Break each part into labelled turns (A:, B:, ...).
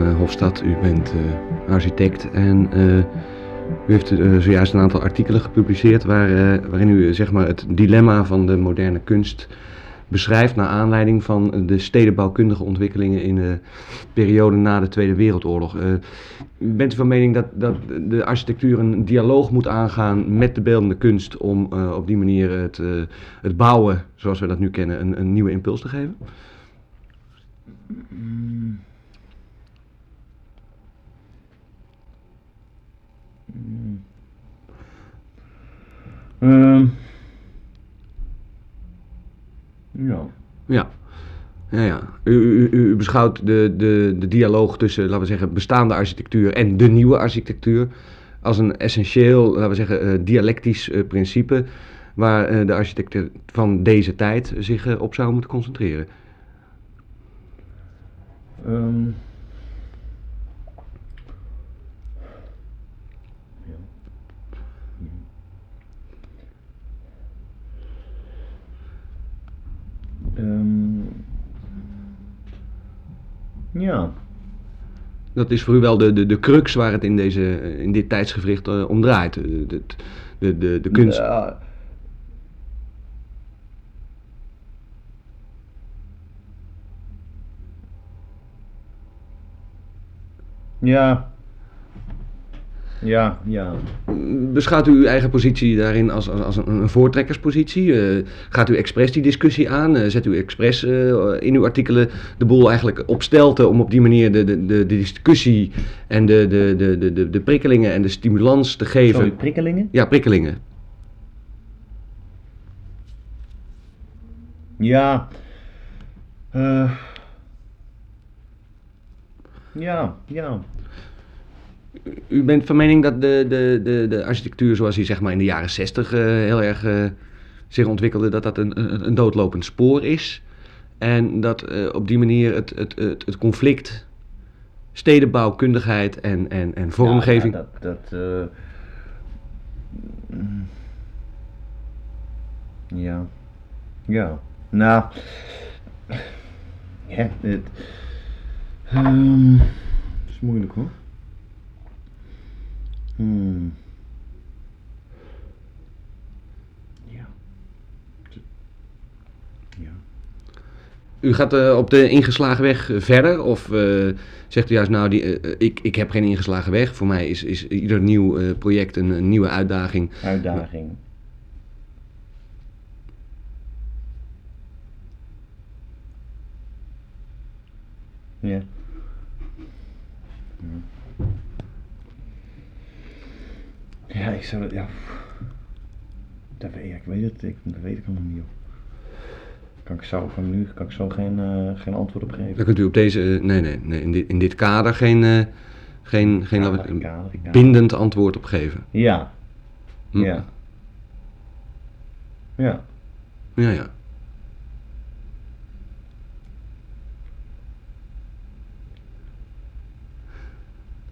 A: Eh, want u bent eh, architect en eh, u heeft eh, zojuist een aantal artikelen gepubliceerd waar, eh, waarin u eh, zeg maar, het dilemma van de moderne kunst beschrijft naar aanleiding van de stedenbouwkundige ontwikkelingen in de periode na de Tweede Wereldoorlog. Eh, u bent u van mening dat, dat de architectuur een dialoog moet aangaan met de beeldende kunst om eh, op die manier het, eh, het bouwen, zoals we dat nu kennen, een, een nieuwe impuls te geven?
B: Mm. Mm. Ehm. ja.
A: Ja. Ja, ja. U, u, u- u beschouwt de, de, de dialoog tussen, laten we zeggen, bestaande architectuur en de nieuwe architectuur als een essentieel, laten we zeggen, eh, dialectisch eh, principe waar eh, de architecten van deze tijd zich eh, op zouden moeten concentreren.
B: Ehm. ja. Ja. Ehm. Ja.
A: Dat is voor u wel de, de, de crux waar het in, deze, eh, in dit tijdsgevricht eh, om draait. eh, De, de, de, de kunst.
B: Ja. Ja. Ja, ja.
A: Beschouwt u uw eigen positie daarin als, als, als een, een voortrekkerspositie? Eh, gaat u expres die discussie aan? Eh, zet u expres eh, in uw artikelen de boel eigenlijk op stelten om op die manier de, de, de, de discussie en de, de, de, de, de, de prikkelingen en de stimulans te geven?
B: Sorry, prikkelingen?
A: Ja, prikkelingen.
B: Ja. Eh. ja, ja.
A: U bent van mening dat de, de, de, de architectuur zoals die zeg maar in de jaren zestig heel erg eh, zich ontwikkelde, dat dat een, een, een doodlopend spoor is. En dat eh, op die manier het, het, het, het conflict stedenbouwkundigheid en, en, en vormgeving.
B: Ja, ja, dat. dat eh, mm. ja. Ja. Nou. Ja, het. Ehm, het is moeilijk hoor. Hmm. Ja. Ja.
A: U gaat eh, op de ingeslagen weg eh, verder? Of eh, zegt u juist nou, die, eh, eh, ik, ik heb geen ingeslagen weg. Voor mij is, is ieder nieuw eh, project een, een nieuwe uitdaging.
B: Uitdaging. Ja. Ja, ik zou dat. Ja. Dat weet, ja, ik weet het. Ik, dat weet ik allemaal niet. Joh. Kan ik zo van nu kan ik zo geen, eh, geen antwoord op geven.
A: Dan kunt u op deze, eh, nee, nee, nee in, dit, in dit kader geen, eh, geen, geen
B: Ja,
A: laten we-
B: ik kan, ik kan.
A: bindend antwoord op geven.
B: Ja.
A: Hm.
B: Ja. Ja.
A: Ja, ja.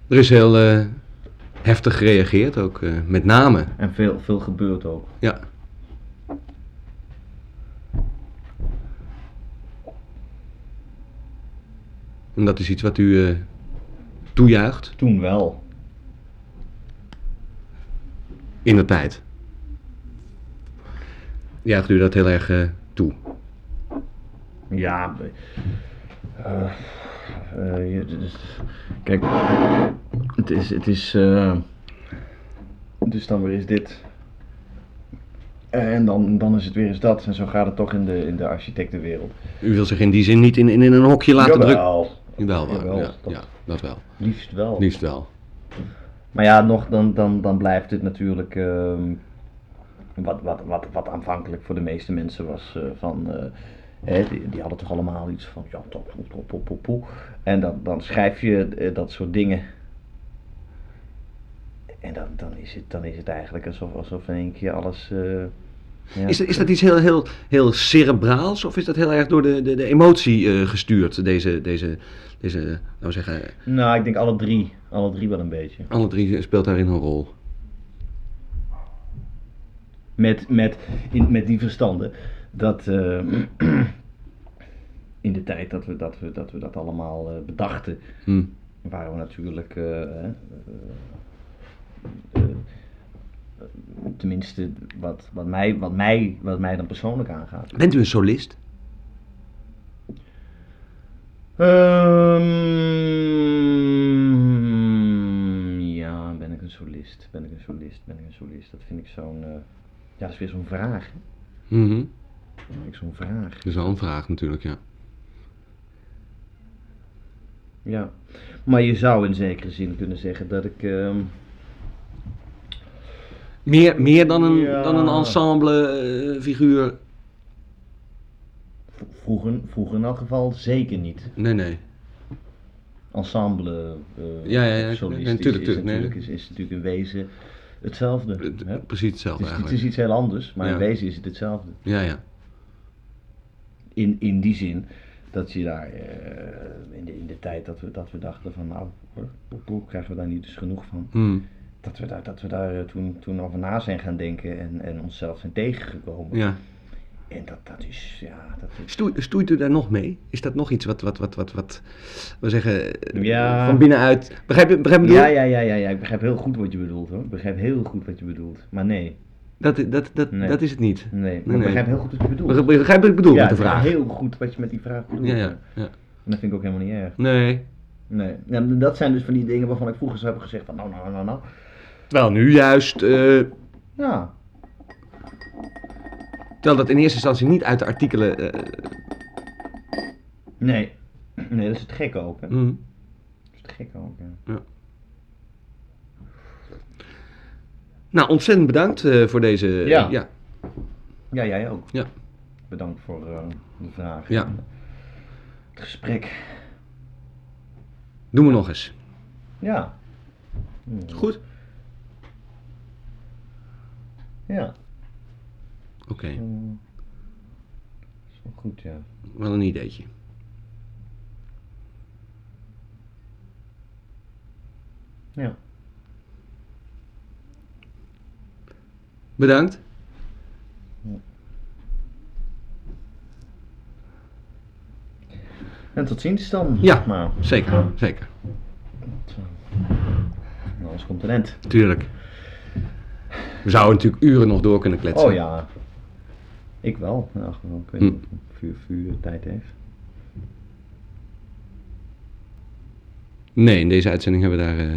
A: Er is heel eh, heftig gereageerd ook, eh, met name.
B: En veel, veel gebeurt ook.
A: Ja. En dat is iets wat u eh, toejuicht
B: Toen wel.
A: in de tijd. Juicht u dat heel erg eh, toe?
B: Ja. eh, eh, je- dus- kijk, het is. Het is eh, dus dan weer is dit. Eh, En dan, dan is het weer eens dat. En zo gaat het toch in de, in de architectenwereld.
A: U wil zich in die zin niet in, in, in een hokje laten drukken?
B: Jawel,
A: Jawel, wel,
B: Jawel,
A: ja,
B: dat-
A: ja, dat wel.
B: Liefst wel.
A: Liefst wel.
B: Maar ja, nog, dan, dan, dan blijft het natuurlijk. ehm, wat, wat, wat, wat aanvankelijk voor de meeste mensen was eh, van. eh, hè, die, die hadden toch allemaal iets van. Ja, top, top, top, top, top, top. En dan, dan schrijf je eh, dat soort dingen. En dan, dan, is, het, dan is het eigenlijk alsof, alsof in één keer alles. eh, ja.
A: Is, is dat iets heel, heel, heel cerebraals of is dat heel erg door de, de, de emotie eh, gestuurd, deze, deze, deze, laten we zeggen,
B: Nou, ik denk alle drie. Alle drie wel een beetje.
A: alle drie speelt daarin een rol.
B: Met, met, in, met die verstanden dat eh, in de tijd dat we dat, we, dat, we dat allemaal eh, bedachten,
A: Hm.
B: waren we natuurlijk, eh, hè, eh, eh, tenminste wat, wat, mij, wat, mij, wat mij dan persoonlijk aangaat.
A: Bent u een solist?
B: Ehm, ja, ben ik een solist? Ben ik een solist? Ben ik een solist? Dat vind ik zo'n. eh, ja, dat is weer zo'n vraag. hè.
A: Mhm.
B: Dat vind ik zo'n vraag.
A: Dat is wel een vraag natuurlijk, ja.
B: Ja. Maar je zou in zekere zin kunnen zeggen dat ik. ehm,
A: Meer, meer dan, een,
B: Ja.
A: dan een ensemble eh, figuur?
B: v- vroeger, vroeger in elk geval zeker niet.
A: Nee, nee.
B: Ensemble. eh
A: Ja, ja, ja,
B: solist
A: nee,
B: is-
A: tuurlijk,
B: is,
A: tuurlijk, nee.
B: natuurlijk, is, is natuurlijk in wezen hetzelfde.
A: Het-
B: hè.
A: Precies
B: Het
A: hetzelfde
B: is, het
A: eigenlijk.
B: is iets heel anders, maar
A: Ja.
B: in wezen is het hetzelfde.
A: Ja, ja.
B: In, in die zin dat je daar eh, in, de, in de tijd dat we, dat we dachten van nou, hoor, hoe krijgen we daar niet dus genoeg van?
A: Hm.
B: Dat we daar, dat we daar eh, toen, toen over na zijn gaan denken en, en onszelf zijn tegengekomen.
A: ja.
B: En dat, dat is, ja, dat is...
A: Stoe- stoeit u daar nog mee? Is dat nog iets wat, wat, wat, wat, wat we zeggen, eh,
B: Ja.
A: van binnenuit... Begrijp je, begrijp je
B: Ja,
A: bedoel?
B: ja, ja, ja, ja, ik begrijp heel goed wat je bedoelt hoor. Ik begrijp heel goed wat je bedoelt. Maar nee,
A: Dat, dat, dat,
B: Nee.
A: dat is het niet.
B: nee. Maar
A: Nee,
B: ik
A: nee.
B: begrijp heel goed wat je bedoelt.
A: Begrijp begrijp wat ik bedoel
B: ja,
A: met de
B: ik begrijp
A: vraag?
B: heel goed wat je met die vraag bedoelt.
A: Ja, ja, ja.
B: En dat vind ik ook helemaal niet erg.
A: Nee.
B: Nee. Ja, dat zijn dus van die dingen waarvan ik vroeger zou hebben gezegd van nou, nou, nou, nou.
A: Terwijl nu juist, eh,
B: Ja,
A: terwijl dat in eerste instantie niet uit de artikelen... eh,
B: Nee. Nee, dat is het gekke ook, hè? Dat
A: hm.
B: is het gekke ook, ja.
A: Nou, ontzettend bedankt eh, voor deze...
B: Ja.
A: ja.
B: Ja, jij ook.
A: Ja.
B: Bedankt voor eh, de vraag.
A: Ja.
B: Het gesprek.
A: Doen we nog eens.
B: Ja. Hm,
A: Goed.
B: Ja.
A: Oké,
B: Hm, is wel goed, ja.
A: wel een ideetje.
B: Ja.
A: Bedankt.
B: En tot ziens dan.
A: Ja.
B: Maar,
A: Zeker, zeker.
B: anders komt een end.
A: Tuurlijk. We zouden natuurlijk uren nog door kunnen kletsen.
B: Oh ja. Ik wel, in elk geval. Ik weet
A: Hm.
B: niet of het vuur, vuur tijd heeft.
A: Nee, in deze uitzending hebben we daar eh,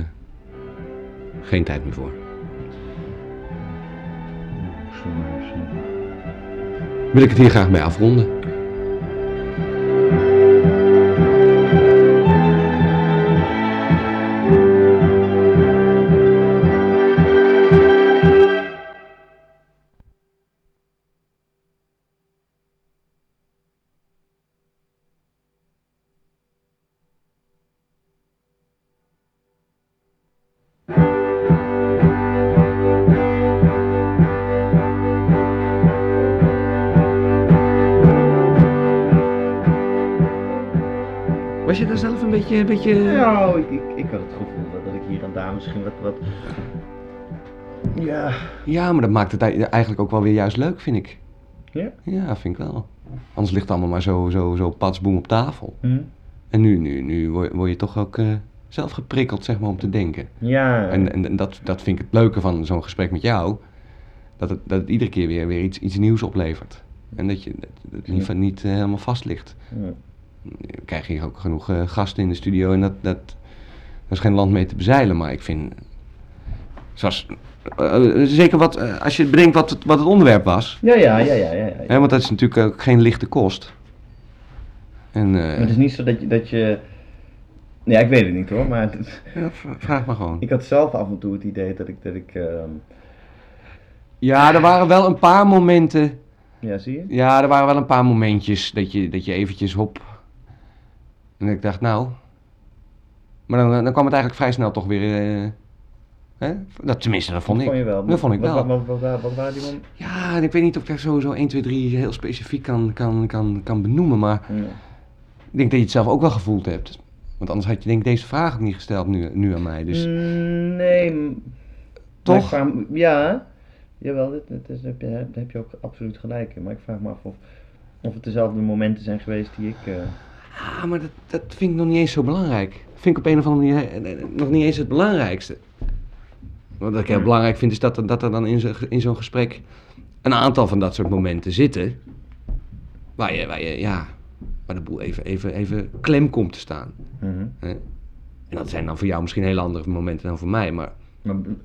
A: geen tijd meer voor.
B: Soms, eh,
A: Wil ik het hier graag mee afronden. Was je daar zelf een beetje... Een beetje... eh,
B: Nou, ik, ik, ik had het gevoel dat, dat ik hier en daar misschien wat. wat... Ja.
A: Ja, maar dat maakt het ei- eigenlijk ook wel weer juist leuk, vind ik.
B: Ja?
A: Ja, vind ik wel. Anders ligt het allemaal maar zo, zo, zo patsboem op tafel.
B: Hm?
A: En nu, nu, nu word, word je toch ook eh, zelf geprikkeld, zeg maar, om te denken.
B: Ja.
A: En, en, en dat, dat vind ik het leuke van zo'n gesprek met jou. Dat het, dat het iedere keer weer, weer iets, iets nieuws oplevert. En dat je dat, dat het niet, van- niet eh, helemaal vast ligt.
B: Ja.
A: We krijgen hier ook genoeg eh, gasten in de studio. En dat, dat, dat is geen land mee te bezeilen. Maar ik vind... Zoals, eh, eh, zeker wat, eh, als je bedenkt wat het, wat het onderwerp was.
B: Ja, ja, ja, ja, ja. ja.
A: Hè, want dat is natuurlijk ook geen lichte kost. En, eh,
B: Maar het is niet zo dat je. Dat je... Ja, ik weet het niet hoor, maar het is-
A: ja, v- vraag maar gewoon.
B: ik had zelf af en toe het idee dat ik. Dat ik ehm,
A: Ja, er waren wel een paar momenten...
B: Ja, zie je?
A: Ja, er waren wel een paar momentjes dat je, dat je eventjes hop. En ik dacht, nou. Maar dan, dan kwam het eigenlijk vrij snel toch weer. eh, hè? Dat, tenminste, dat vond ik.
B: Vond je wel.
A: Dat vond ik
B: Wat-
A: wel.
B: Wat, wat, wat, wat, wat waren die momenten?
A: Ja, en ik weet niet of ik dat sowieso 1, 2, 3 heel specifiek kan, kan, kan, kan benoemen. Maar
B: Ja.
A: ik denk dat je het zelf ook wel gevoeld hebt. Dus, Want anders had je denk ik deze vraag ook niet gesteld nu, nu aan mij. Dus
B: Mm, Nee, m- maar
A: toch?
B: ik vraag me- ja, jawel, dit, dit is, daar, heb je, daar heb je ook absoluut gelijk in. Maar ik vraag me af of, of het dezelfde momenten zijn geweest die ik. eh,
A: Ja, Ah, maar dat, dat vind ik nog niet eens zo belangrijk. Vind ik op een of andere manier eh, eh, nog niet eens het belangrijkste. Wat ik heel belangrijk vind is dat, er- dat er dan in zo'n in zo'n gesprek een aantal van dat soort momenten zitten. Waar je, waar je ja, waar de boel even, even, even klem komt te staan.
B: Mhm.
A: En dat zijn dan voor jou misschien hele andere momenten dan voor mij, maar
B: Maar be-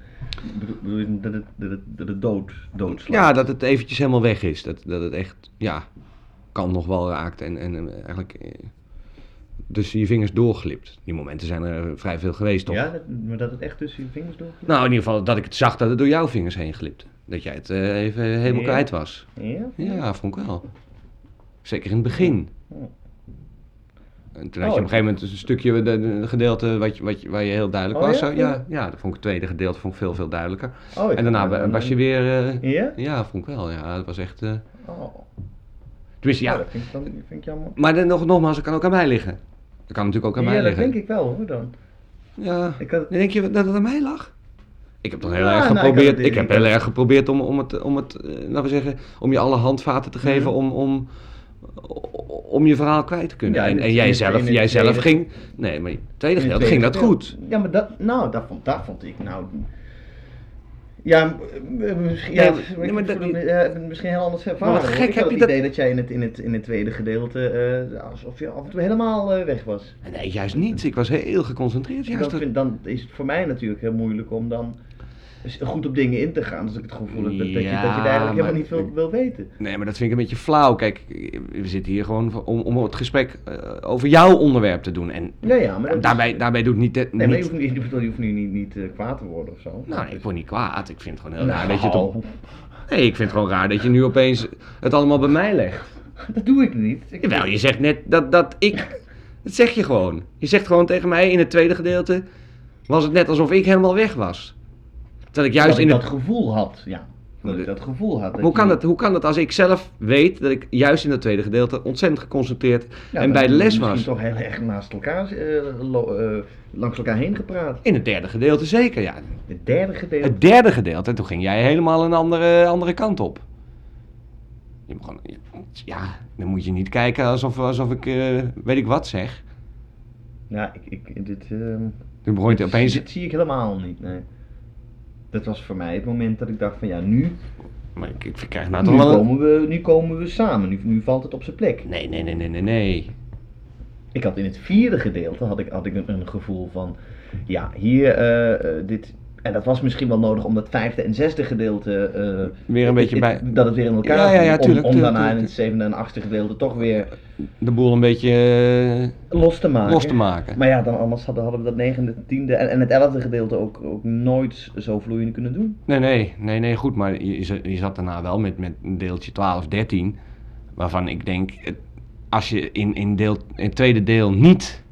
B: bedoel- bedoel je dat het, dat het, dat het dood, doodslaat?
A: Ja, dat het eventjes helemaal weg is. Dat, dat het echt, ja, kan nog wel raakt en, en eh, eigenlijk eh, tussen je vingers doorglipt. Die momenten zijn er eh, vrij veel geweest, toch?
B: Ja, dat- maar dat het echt tussen je vingers doorgaat?
A: Nou, in ieder geval dat ik het zag dat het door jouw vingers heen glipte. Dat jij het eh, even helemaal
B: Ja.
A: kwijt was.
B: Ja?
A: Ja, vond ik wel. Zeker in het begin.
B: Ja.
A: En toen had
B: Oh,
A: je op een gegeven moment een stukje, de, de- de gedeelte wat je, wat je, waar je heel duidelijk
B: Oh,
A: was.
B: ja?
A: Zo, ja, ja, dat vond ik het tweede gedeelte vond ik veel, veel duidelijker.
B: Oh, ja.
A: En daarna wa- was je weer... eh,
B: Ja?
A: ja, vond ik wel. Ja, dat was echt... eh,
B: Oh.
A: tenminste,
B: Ja.
A: ja,
B: dat vind ik, dan, vind ik jammer.
A: Maar dan nog, nogmaals, dat kan ook aan mij liggen. Dat kan natuurlijk ook aan
B: Ja,
A: mij
B: dat
A: liggen.
B: denk ik wel hoor dan.
A: Ja.
B: Ik had,
A: Dan denk je dat het aan mij lag? Ik heb dan heel
B: Ja,
A: erg
B: nou, ik
A: geprobeerd.
B: had
A: ik,
B: het-
A: heb
B: ik
A: heel
B: had-
A: erg geprobeerd om, om het, om het eh, laten we zeggen, om je alle handvaten te geven om, om, om je verhaal kwijt te kunnen.
B: Ja,
A: en,
B: in
A: en
B: het- in
A: jij
B: het- in
A: zelf,
B: het
A: jij zelf
B: tweede-
A: ging. Nee, maar in het tweede
B: in het
A: gedeelte ging dat
B: tweede
A: goed.
B: gedeelte. Ja, maar dat, nou, dat vond, dat vond ik nou... Ja, m- m- misschien,
A: Nee,
B: ja, ik
A: nee, maar
B: voel
A: dat-
B: het, eh, misschien heel anders ervaren.
A: wat
B: hoor.
A: gek
B: ik
A: heb
B: had
A: je
B: het
A: dat-
B: idee dat jij in het, in het, in het tweede gedeelte, eh, alsof je af en toe helemaal eh, weg was.
A: Nee, juist niet. Ik was heel geconcentreerd. Juist
B: dan, Dus vind, dan is het voor mij natuurlijk heel moeilijk om dan s- goed op dingen in te gaan. Dus ik het gevoel heb dat, dat, je, dat je
A: Ja,
B: daar eigenlijk helemaal
A: maar-
B: niet veel wil weten.
A: Nee, maar dat vind ik een beetje flauw. Kijk, we zitten hier gewoon voor- om, om het gesprek eh, over jouw onderwerp te doen. En
B: Ja, ja, maar dat is-
A: daarbij, daarbij doet niet... de-
B: Nee, maar je
A: niet-
B: hoeft, niet, ik bedoel, je hoeft nu niet, niet eh, kwaad te worden of zo.
A: Nou, ik word niet kwaad. Ik vind het gewoon heel
B: Nou,
A: raar dat je het op... Nee, ik vind het gewoon raar dat je nu opeens het allemaal bij mij legt.
B: dat doe ik niet. Ik,
A: Jawel, je zegt net dat, dat ik... Dat zeg je gewoon. Je zegt gewoon tegen mij in het tweede gedeelte... was het net alsof ik helemaal weg was. Terwijl ik
B: dat
A: juist
B: ik
A: in
B: dat
A: het...
B: gevoel had, ja. Dat ik dat gevoel had.
A: Hoe kan,
B: je-
A: dat, hoe kan dat als ik zelf weet dat ik juist in het tweede gedeelte ontzettend geconcentreerd
B: Ja,
A: en
B: dat
A: bij de
B: we
A: les
B: misschien
A: was?
B: toch heel erg naast elkaar, eh, lo- eh, langs elkaar heen gepraat.
A: In het derde gedeelte zeker, ja.
B: Het derde gedeelte.
A: Het derde gedeelte, toen ging jij helemaal een andere, andere kant op. Je begon, ja, dan moet je niet kijken alsof, alsof ik eh, weet ik wat zeg.
B: Ja, ik, ik, dit, ehm,
A: Toen begon je te opeens...
B: dit zie ik helemaal niet, nee. Dat was voor mij het moment dat ik dacht van ja, nu
A: Maar ik, ik krijg nou
B: Nu
A: toch wel... een-
B: komen, we, nu komen we samen, nu, nu valt het op zijn plek.
A: Nee, nee, nee, nee, nee, nee.
B: Ik had in het vierde gedeelte had ik, had ik een, een gevoel van, ja, hier, eh, eh, dit, en dat was misschien wel nodig om dat vijfde en zesde gedeelte, eh,
A: Weer een
B: het-
A: beetje bij...
B: het- dat het weer in elkaar
A: Ja, ja, ja,
B: ging, om-
A: tuurlijk,
B: om,
A: tuurlijk,
B: daarna in
A: tuurlijk.
B: het zevende en achtste gedeelte toch weer
A: De boel een beetje eh,
B: los te maken.
A: los te maken.
B: Maar ja, dan, anders hadden, hadden we dat negende, tiende en, en het elfde gedeelte ook, ook nooit zo vloeiend kunnen doen.
A: Nee, nee, nee, nee, goed. Maar je, je- je zat daarna wel met, met een deeltje 12, 13. Waarvan ik denk, het- als je in, in, deel, in het tweede deel niet,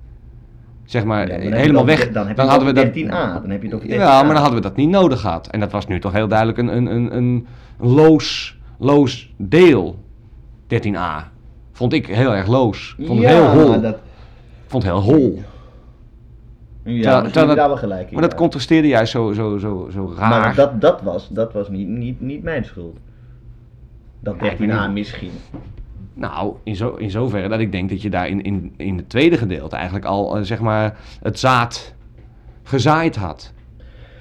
A: zeg maar,
B: Ja, maar dan heb je
A: helemaal
B: dan-
A: weg...
B: Dan heb je het
A: hadden
B: over
A: we dat-
B: 13a, dan heb je het over 13a.
A: Ja, maar dan hadden we dat niet nodig gehad. En dat was nu toch heel duidelijk een, een, een, een loos, loos deel. 13a. Vond ik heel erg loos. Vond het heel
B: ja,
A: hol.
B: Dat,
A: Vond het heel hol.
B: ja, misschien heb je
A: dat-
B: daar wel gelijk in.
A: Maar dat
B: ja.
A: contrasteerde juist zo, zo, zo, zo raar.
B: Maar dat, dat was, dat was niet, niet, niet mijn schuld. Dat
A: Ja, ik
B: 13
A: weet
B: a
A: niet.
B: misschien.
A: Nou, in, zo, in zoverre dat ik denk dat je daar in, in, in het tweede gedeelte eigenlijk al, eh, zeg maar, het zaad gezaaid had.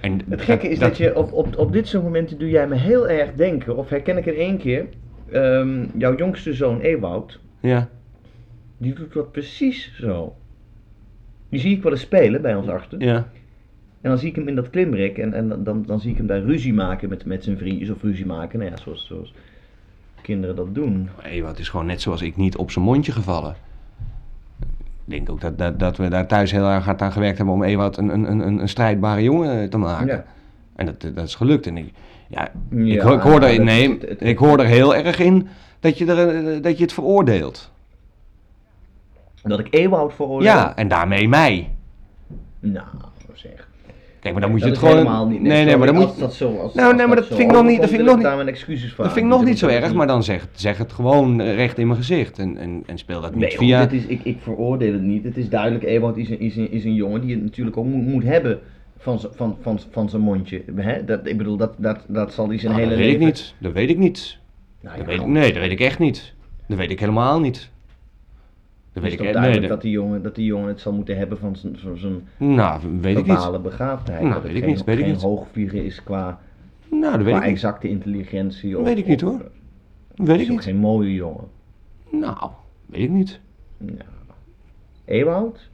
A: En
B: Het gekke is dat, je op, op, op dit soort momenten doe jij me heel erg denken, of herken ik in één keer, ehm, jouw jongste zoon Ewout,
A: Ja.
B: die doet dat precies zo. Die zie ik wel eens spelen bij ons achter.
A: Ja.
B: En dan zie ik hem in dat klimrek en, en dan, dan, dan zie ik hem daar ruzie maken met, met zijn vriendjes of ruzie maken, nou ja, zoals, zoals kinderen dat doen.
A: Ewout is gewoon net zoals ik niet op zijn mondje gevallen. Ik denk ook dat, dat, dat we daar thuis heel erg hard aan gewerkt hebben om Ewout een, een, een, een strijdbare jongen eh, te maken.
B: Ja.
A: En dat, dat is gelukt. En ik, ja, ik,
B: Ja,
A: hoor- ik hoor
B: nou,
A: er,
B: dat
A: nee,
B: is het- het-
A: ik hoor er heel erg in dat je, er, eh, dat je het veroordeelt.
B: Dat ik Ewout veroordeel?
A: Ja, en daarmee mij.
B: Nou, zeg.
A: Kijk, maar dan moet je
B: dat
A: het
B: is
A: gewoon.
B: helemaal niet.
A: nee, nee, maar dan
B: sorry,
A: moet
B: als dat zo, als,
A: Nou,
B: als
A: nee, maar dat
B: zo
A: vind ik nog niet- dat
B: overkomt,
A: vind ik
B: wil
A: nog
B: ik
A: niet-
B: daar mijn excuses voor
A: Dat vind ik nog niet zo erg, maar dan zeg, zeg het gewoon recht in mijn gezicht. En, en, en speel dat niet
B: Nee, joh,
A: via.
B: dit is, ik, ik veroordeel het niet. Het is duidelijk, Ewout is een, is een, is een jongen die het natuurlijk ook moet, moet hebben van, z'n- van, van, van zijn mondje. Hè? Dat, ik bedoel, dat, dat, dat zal hij zijn
A: Nou,
B: hele
A: dat weet
B: leven...
A: ik niet. Dat weet ik niet.
B: Nou,
A: Dat
B: ja,
A: weet, nee, dat weet ik echt niet. Dat weet ik helemaal niet.
B: Dus Dat
A: weet
B: is
A: ik
B: toch
A: eh,
B: duidelijk
A: nee,
B: dat, die jongen, dat die jongen het zal moeten hebben van zijn- van zijn
A: Nou, weet ik niet.
B: bepaalde begaafdheid.
A: Nou,
B: dat het
A: weet ik
B: geen,
A: niet, weet ik
B: geen
A: niet.
B: hoogvlieger is qua,
A: Nou, dat weet
B: qua
A: ik niet.
B: exacte intelligentie. Of,
A: Weet ik niet,
B: of-
A: hoor.
B: Het
A: Weet
B: is
A: ik
B: ook
A: niet.
B: geen mooie jongen.
A: Nou, weet ik niet.
B: Nou. Ewoud?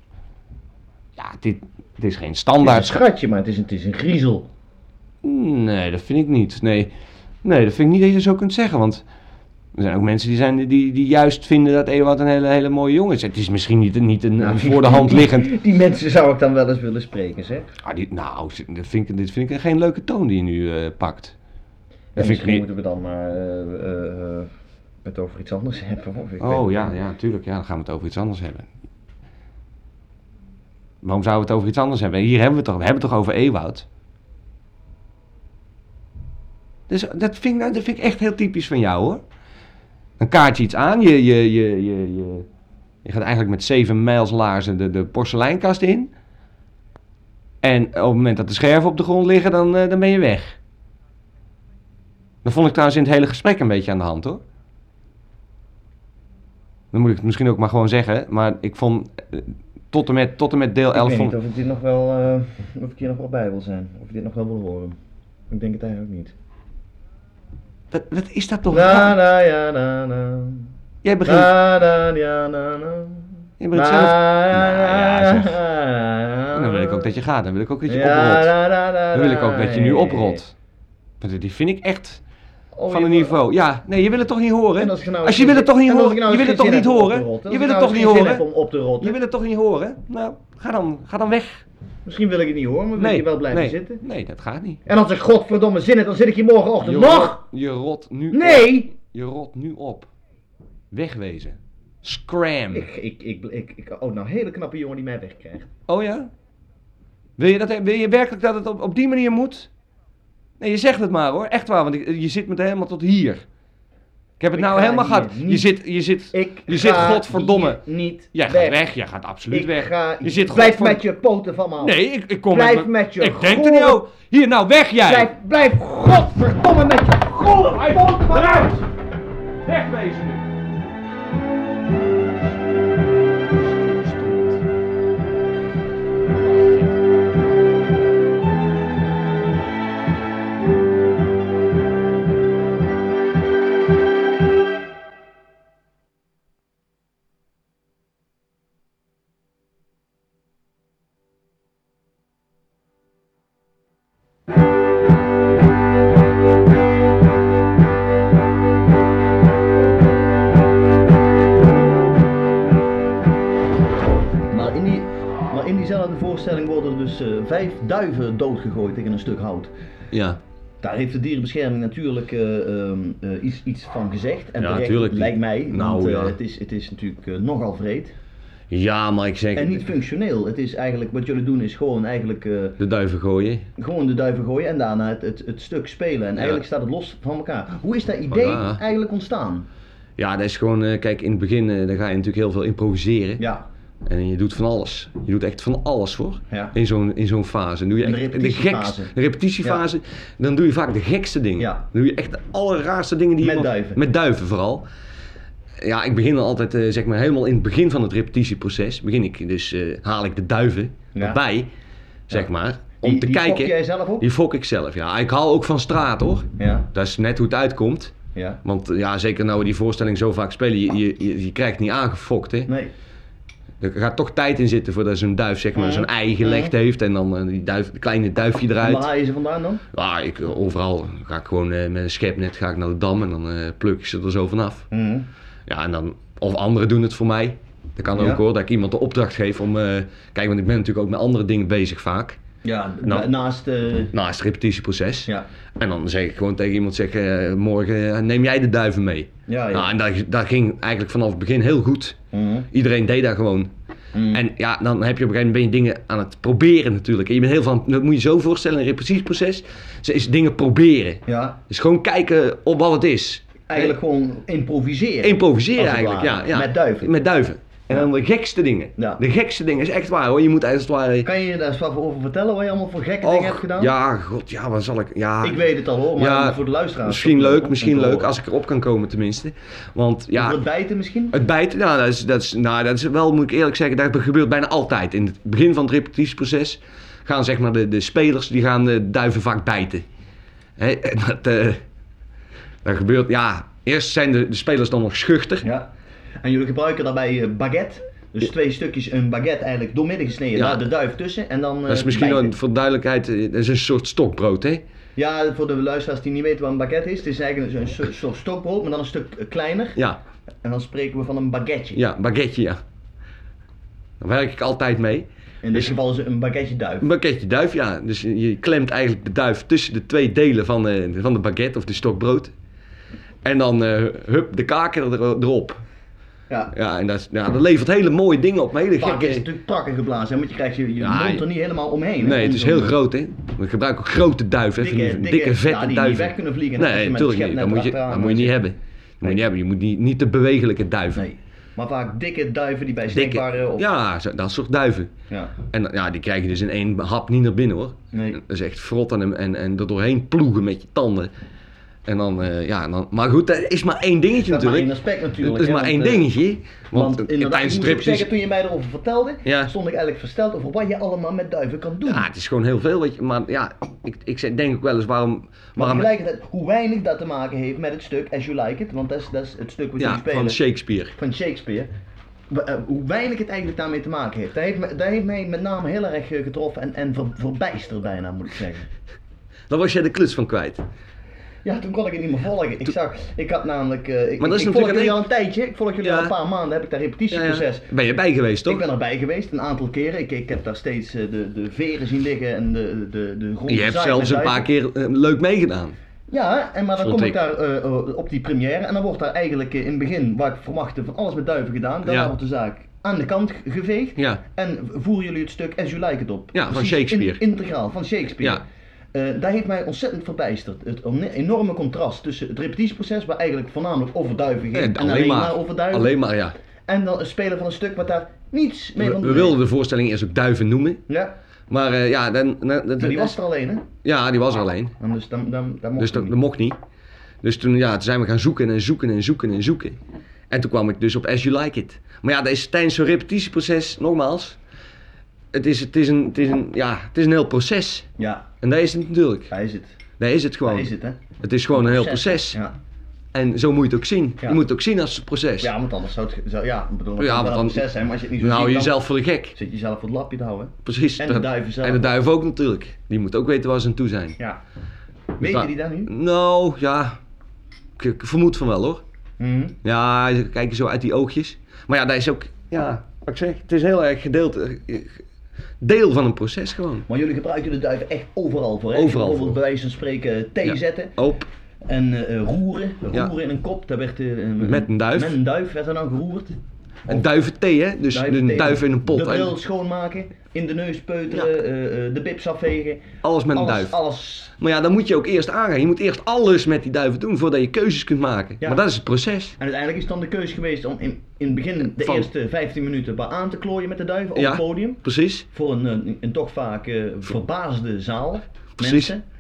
A: Ja, dit, dit is geen
B: Het is een
A: standaard. scha-
B: schatje, maar het is, een- het is een griezel.
A: Nee, dat vind ik niet. Nee. nee, dat vind ik niet dat je dat zo kunt zeggen. Want er zijn ook mensen die, zijn, die, die juist vinden dat Ewout een hele, hele mooie jongen is. Het is misschien niet, niet een een voor de hand liggend.
B: Nou, Die, mensen zou ik dan wel eens willen spreken, zeg.
A: Ah, dit, nou, dat vind ik, dit vind ik geen leuke toon die je nu eh, pakt.
B: Ja,
A: Dat vind ik
B: misschien
A: niet.
B: moeten we dan maar eh, eh, eh, het over iets anders hebben. Of ik
A: Oh
B: weet-
A: ja, ja, tuurlijk. Ja, dan gaan we het over iets anders hebben. Waarom zouden we het over iets anders hebben? Hier hebben we het toch, we hebben het toch over Ewoud? Dus dat vind, ik, nou- dat vind ik echt heel typisch van jou hoor. Dan kaart je iets aan, je, je, je, je, je, je gaat eigenlijk met zeven mijls laarzen de, de porseleinkast in. En op het moment dat de scherven op de grond liggen, dan, eh, dan ben je weg. Dat vond ik trouwens in het hele gesprek een beetje aan de hand hoor. Dan moet ik het misschien ook maar gewoon zeggen. Maar ik vond eh, tot en met, tot en met deel
B: Ik
A: 11
B: weet
A: vond,
B: niet of ik, dit nog wel, eh, of ik hier nog wel bij wil zijn. Of ik dit nog wel wil horen. Ik denk het eigenlijk niet.
A: Wat, wat is dat toch? raar?
B: Na, na, ja, na, na.
A: Jij begint.
B: Na, na, ja, na, na.
A: jij begint
B: Na,
A: zelf.
B: na,
A: Nou ja,
B: na,
A: zeg.
B: na,
A: En dan wil ik ook dat je gaat. Dan wil ik ook dat je
B: Ja,
A: oprolt.
B: na, na, na,
A: Dan wil ik
B: na.
A: ook dat je nu oprot. Want die vind ik echt
B: Oh,
A: van
B: je
A: een
B: wil-
A: niveau. Ja, nee, je wil het toch niet horen?
B: En als, ik nou
A: Als je
B: geen
A: wil het
B: zin-
A: toch niet
B: en als
A: horen-
B: ik nou
A: je
B: eens
A: wil het
B: geen zin
A: toch
B: heb
A: niet
B: om
A: horen?
B: op te rotten,
A: Je
B: als
A: wil
B: ik
A: het
B: nou
A: toch
B: eens
A: niet
B: geen zin
A: horen?
B: heb om op te rotten.
A: Je wil het toch niet horen? Nou, ga dan, ga dan weg.
B: Misschien wil ik het niet horen, maar wil
A: Nee,
B: ik hier wel blijven
A: nee,
B: zitten.
A: Nee, dat gaat niet.
B: En als ik godverdomme zin heb, dan zit ik hier morgenochtend
A: Je
B: nog.
A: rot- Je rot nu op.
B: Nee!
A: Je rot nu op. Wegwezen. Scram.
B: Ik, ik, ik, ik, ik, oh, nou, een hele knappe jongen die mij wegkrijgt.
A: Oh ja? Wil je, dat, wil je werkelijk dat het op, op die manier moet? Nee, je zegt het maar hoor. Echt waar, want ik- je zit met helemaal tot hier. Ik heb het
B: Ik
A: nou
B: ga
A: helemaal
B: hier
A: gehad. Je
B: niet-
A: zit, je zit,
B: Ik
A: je zit
B: ga
A: godverdomme.
B: hier niet
A: Jij
B: weg.
A: gaat weg, jij gaat absoluut
B: Ik
A: weg.
B: ga...
A: je zit
B: blijf
A: godver-
B: met je poten van me af.
A: Nee, ik, ik kom
B: Blijf
A: me-
B: met je
A: Ik denk er niet
B: gore-
A: over. Hier, nou weg jij.
B: Blijf, blijf godverdomme met je golle poten van me af.
A: Wegwezen nu.
B: Maar in, die, maar in diezelfde voorstelling worden dus eh, vijf duiven doodgegooid tegen een stuk hout.
A: Ja,
B: Daar heeft de dierenbescherming natuurlijk eh, ehm, eh, iets, iets van gezegd. En
A: Ja,
B: terecht,
A: tuurlijk.
B: lijkt mij.
A: Nou,
B: want eh,
A: ja.
B: het, is, het is natuurlijk eh, nogal vreed.
A: ja maar ik zeg
B: En niet functioneel. Het is eigenlijk, wat jullie doen is gewoon eigenlijk eh,
A: de duiven gooien.
B: gewoon de duiven gooien en daarna het, het, het stuk spelen. En eigenlijk staat het los van elkaar. Hoe is dat idee
A: Ja.
B: eigenlijk ontstaan?
A: Ja, dat is gewoon, eh, kijk, in het begin eh, dan ga je natuurlijk heel veel improviseren.
B: Ja,
A: En je doet van alles. Je doet echt van alles hoor.
B: ja.
A: In zo'n, in zo'n fase. Dan doe je
B: In de
A: echt
B: repetitiefase.
A: gekste, de repetitiefase. Dan doe je vaak de gekste dingen.
B: Ja.
A: Dan doe je echt de allerraarste dingen die je.
B: Met
A: nog-
B: duiven.
A: Met duiven vooral. Ja, ik begin dan altijd, eh, zeg maar, helemaal in het begin van het repetitieproces. Begin ik, dus eh, haal ik de duiven
B: Ja.
A: erbij, zeg
B: Ja.
A: maar. Om
B: Die-
A: te
B: die
A: kijken.
B: fok jij zelf op?
A: Die fok ik zelf, ja. Ik haal ook van straat hoor.
B: Ja,
A: Dat is net hoe het uitkomt.
B: ja.
A: Want eh, ja, zeker nou we die voorstelling zo vaak spelen, je, je, je, je krijgt niet aangefokt hè.
B: Nee,
A: Er gaat toch tijd in zitten voordat zo'n duif zeg maar,
B: Mhm.
A: zijn ei gelegd heeft en dan eh, die duif, het kleine duifje
B: en waar
A: eruit.
B: haal je ze vandaan dan?
A: Ja, ik, eh, overal ga ik gewoon eh, met een schepnet ga ik naar de dam en dan eh, pluk ik ze er zo vanaf.
B: Mhm.
A: Ja, en dan, of anderen doen het voor mij. Dat kan
B: Ja.
A: ook hoor, dat ik iemand de opdracht geef om... eh, kijk, want ik ben natuurlijk ook met andere dingen bezig vaak,
B: Ja,
A: Nou.
B: na- naast... eh,
A: naast het repetitieproces.
B: ja.
A: En dan zeg ik gewoon tegen iemand, zeg, eh, morgen eh, neem jij de duiven mee.
B: Ja, ja.
A: Nou, en dat, dat ging eigenlijk vanaf het begin heel goed.
B: Mhm.
A: Iedereen deed dat gewoon.
B: Mhm.
A: En ja, dan heb je op een gegeven moment ben je dingen aan het proberen natuurlijk. En je bent heel van, dat moet je zo voorstellen, een repetitieproces. Ze is dingen proberen.
B: ja,
A: Dus gewoon kijken op wat het is. Eh,
B: eigenlijk gewoon improviseren.
A: Improviseren
B: Als het
A: eigenlijk,
B: ware.
A: ja, ja.
B: Met duiven.
A: Met duiven. En dan de gekste dingen.
B: Ja.
A: De gekste dingen is echt waar hoor. Je moet als het ware.
B: Kan je je daar eens wat over vertellen wat je allemaal voor gekke dingen
A: Och,
B: hebt gedaan?
A: ja, god, ja, wat zal ik. Ja,
B: Ik weet het al hoor, maar
A: Ja,
B: voor de luisteraars.
A: misschien
B: om- om
A: leuk,
B: te
A: misschien leuk
B: horen.
A: als ik erop kan komen tenminste. Want ja.
B: Over het bijten misschien?
A: Het bijten, nou dat, is, dat is, nou, dat is wel, moet ik eerlijk zeggen, dat gebeurt bijna altijd. In het begin van het repetitieproces gaan zeg maar de, de spelers, die gaan de duivenvak bijten. Hè, en dat, eh, dat gebeurt, ja, eerst zijn de, de spelers dan nog schuchter.
B: Ja. En jullie gebruiken daarbij eh, baguette. Dus twee stukjes een baguette eigenlijk doormidden gesneden,
A: Ja.
B: daar de duif tussen en dan. eh,
A: dat is misschien
B: bijten.
A: wel, voor duidelijkheid, eh, dat is een soort stokbrood, hè?
B: Ja, voor de luisteraars die niet weten wat een baguette is, het is eigenlijk een so- soort stokbrood, maar dan een stuk eh, kleiner.
A: Ja,
B: En dan spreken we van een baguette.
A: ja, baguetje, ja. Daar werk ik altijd mee.
B: In dit geval is het een baguette duif.
A: Een baguetje duif, ja. Dus je je klemt eigenlijk de duif tussen de twee delen van de, van de baguette of de stokbrood. En dan eh, hup, de kaken er, erop.
B: Ja.
A: Ja, en dat, is- ja, dat levert hele mooie dingen op. Hele
B: Vaak is het
A: gekke...
B: natuurlijk prakken geblazen, hè, want je krijgt je, je
A: Ja,
B: mond
A: je-
B: er niet helemaal omheen. hè,
A: Nee,
B: om
A: het is
B: zo'n-
A: heel groot, hè. We gebruiken ook grote duiven, hè, van die
B: Dikke-
A: dikke,
B: dikke-
A: vette
B: ja, die niet
A: duiven.
B: weg kunnen vliegen, hè, als
A: Nee,
B: je met
A: natuurlijk
B: een
A: niet.
B: schepnet
A: Dat moet je,
B: erachteraan
A: dat moet je
B: zit.
A: niet hebben. Dat moet je niet hebben. Je moet niet, niet de bewegelijke duiven.
B: Nee. Maar vaak dikke duiven die bij
A: dikke.
B: snackbarren of...
A: Ja, zo- dat soort duiven.
B: Ja.
A: En dan- ja, die krijg je dus in één hap niet naar binnen hoor.
B: Nee.
A: Dat is echt frot en, en, en er doorheen ploegen met je tanden. En dan, eh, ja, en dan, maar goed, dat is maar één dingetje
B: Dat is maar
A: natuurlijk.
B: één aspect natuurlijk.
A: Het is
B: hè,
A: maar
B: want,
A: één
B: eh,
A: dingetje.
B: Want,
A: Want,
B: inderdaad, ik
A: tijdens
B: moet
A: het
B: ook zeggen,
A: repetitie...
B: toen je mij erover vertelde,
A: Ja.
B: stond ik eigenlijk versteld over wat je allemaal met duiven kan doen.
A: Ja, het is gewoon heel veel, weet je. Maar ja, ik, ik zeg- denk ook wel eens waarom...
B: maar
A: waarom
B: tegelijkertijd, hoe weinig dat te maken heeft met het stuk As You Like It, want dat is, dat is het stuk wat jullie
A: ja,
B: spelen
A: van Shakespeare.
B: van Shakespeare. wa- eh, Hoe weinig het eigenlijk daarmee te maken heeft. Dat heeft, me- dat heeft mij met name heel erg eh, getroffen en, en ver, verbijsterd bijna, moet ik zeggen.
A: Daar was jij de kluts van kwijt.
B: Ja, toen kon ik het niet meer volgen. Ik zag, ik had namelijk, eh, ik,
A: Maar dat is
B: ik volg
A: natuurlijk
B: jullie
A: een-
B: al een tijdje, ik volg jullie
A: Ja.
B: al een paar maanden, heb ik daar
A: Ja, ja.
B: repetitieproces.
A: Dus, eh, Ben je bij geweest, toch?
B: Ik ben erbij geweest een aantal keren. Ik, ik heb daar steeds eh, de, de veren zien liggen en de, de, de grond.
A: Je hebt
B: gezaaid
A: zelfs
B: met
A: een paar
B: duiven.
A: keer eh, leuk meegedaan.
B: Ja, en maar dan
A: Vond
B: kom ik
A: ik.
B: daar eh, eh, op die première en dan wordt daar eigenlijk eh, in het begin, waar ik verwachtte, van alles met duiven gedaan. Daarna
A: Ja.
B: wordt de zaak aan de kant ge- geveegd
A: Ja.
B: en voeren jullie het stuk As You Like It op.
A: Ja, van
B: Precies, in-
A: Shakespeare.
B: integraal, van Shakespeare.
A: Ja.
B: Eh, dat heeft mij ontzettend verbijsterd. Het one- enorme contrast tussen het repetitieproces, waar eigenlijk voornamelijk over duiven ging, en, alleen, maar, over duiven.
A: Eh, Alleen maar, ja.
B: En dan het spelen van een stuk wat daar niets mee
A: We,
B: van
A: we
B: te doen
A: wilden de voorstelling eerst ook duiven noemen.
B: heeft. Ja.
A: Maar eh, ja, dan, dan- dan-
B: Maar die was er alleen, hè?
A: ja, die was er alleen.
B: En dus dan, dan, dan mocht
A: Dus
B: ik
A: dat,
B: niet.
A: dat mocht niet. Dus toen, ja, toen zijn we gaan zoeken en zoeken en zoeken en zoeken. En toen kwam ik dus op As You Like It. Maar ja, dat is tijdens zo'n repetitieproces, nogmaals. Het is, het, is een, het, is een, ja, het is een heel proces.
B: Ja,
A: En dat is het natuurlijk.
B: daar is het.
A: Dat is het gewoon.
B: Daar is het, hè?
A: Het is gewoon Oh. een heel proces.
B: Ja,
A: En zo moet je het ook zien.
B: Ja.
A: Je moet het ook zien als een proces.
B: ja want anders zou het... ge- Zou, ja, ik bedoel, het
A: Ja,
B: kan wel
A: want
B: een
A: dan-
B: proces zijn, maar als je het niet zo
A: Dan hou je
B: ziet, dan
A: jezelf voor de gek.
B: zit je jezelf voor het lapje te houden.
A: Precies.
B: En de
A: Dat-
B: duiven zelf.
A: En de duiven ook natuurlijk. Die moet ook weten waar ze aan toe zijn.
B: Ja.
A: Dus
B: Weet je die daar nu?
A: Nou, ja. Ik, ik vermoed van wel hoor.
B: Mhm.
A: Ja, ze kijken zo uit die oogjes. Maar ja, dat is ook, ja, wat ik zeg, het is heel erg gedeeld, eh, deel van een proces gewoon.
B: Maar jullie gebruiken de duiven echt overal voor, hè?
A: Overal
B: Bijvoorbeeld
A: voor.
B: bij wijze van spreken thee
A: Ja.
B: zetten
A: Op,
B: en eh, eh, roeren.
A: Ja.
B: Roeren in een kop, daar werd... eh, een-
A: Met een duif.
B: Met een duif werd er dan geroerd.
A: een duiventhee hè, dus
B: Duiventhee.
A: een duif in een pot.
B: De bril
A: En
B: schoonmaken, in de neus peuteren, eh, eh, de bips afvegen.
A: alles met een
B: alles,
A: duif.
B: alles
A: Maar ja, dan moet je ook eerst aangaan. Je moet eerst alles met die duiven doen voordat je keuzes kunt maken.
B: Ja.
A: Maar dat is het proces.
B: En uiteindelijk is dan de keus geweest om in, in het begin de
A: Van-
B: eerste 15 minuten maar aan te klooien met de duiven op
A: Ja.
B: het podium.
A: Precies.
B: Voor een, een, een toch vaak eh, verbaasde zaal.
A: Precies.
B: Mensen. eh,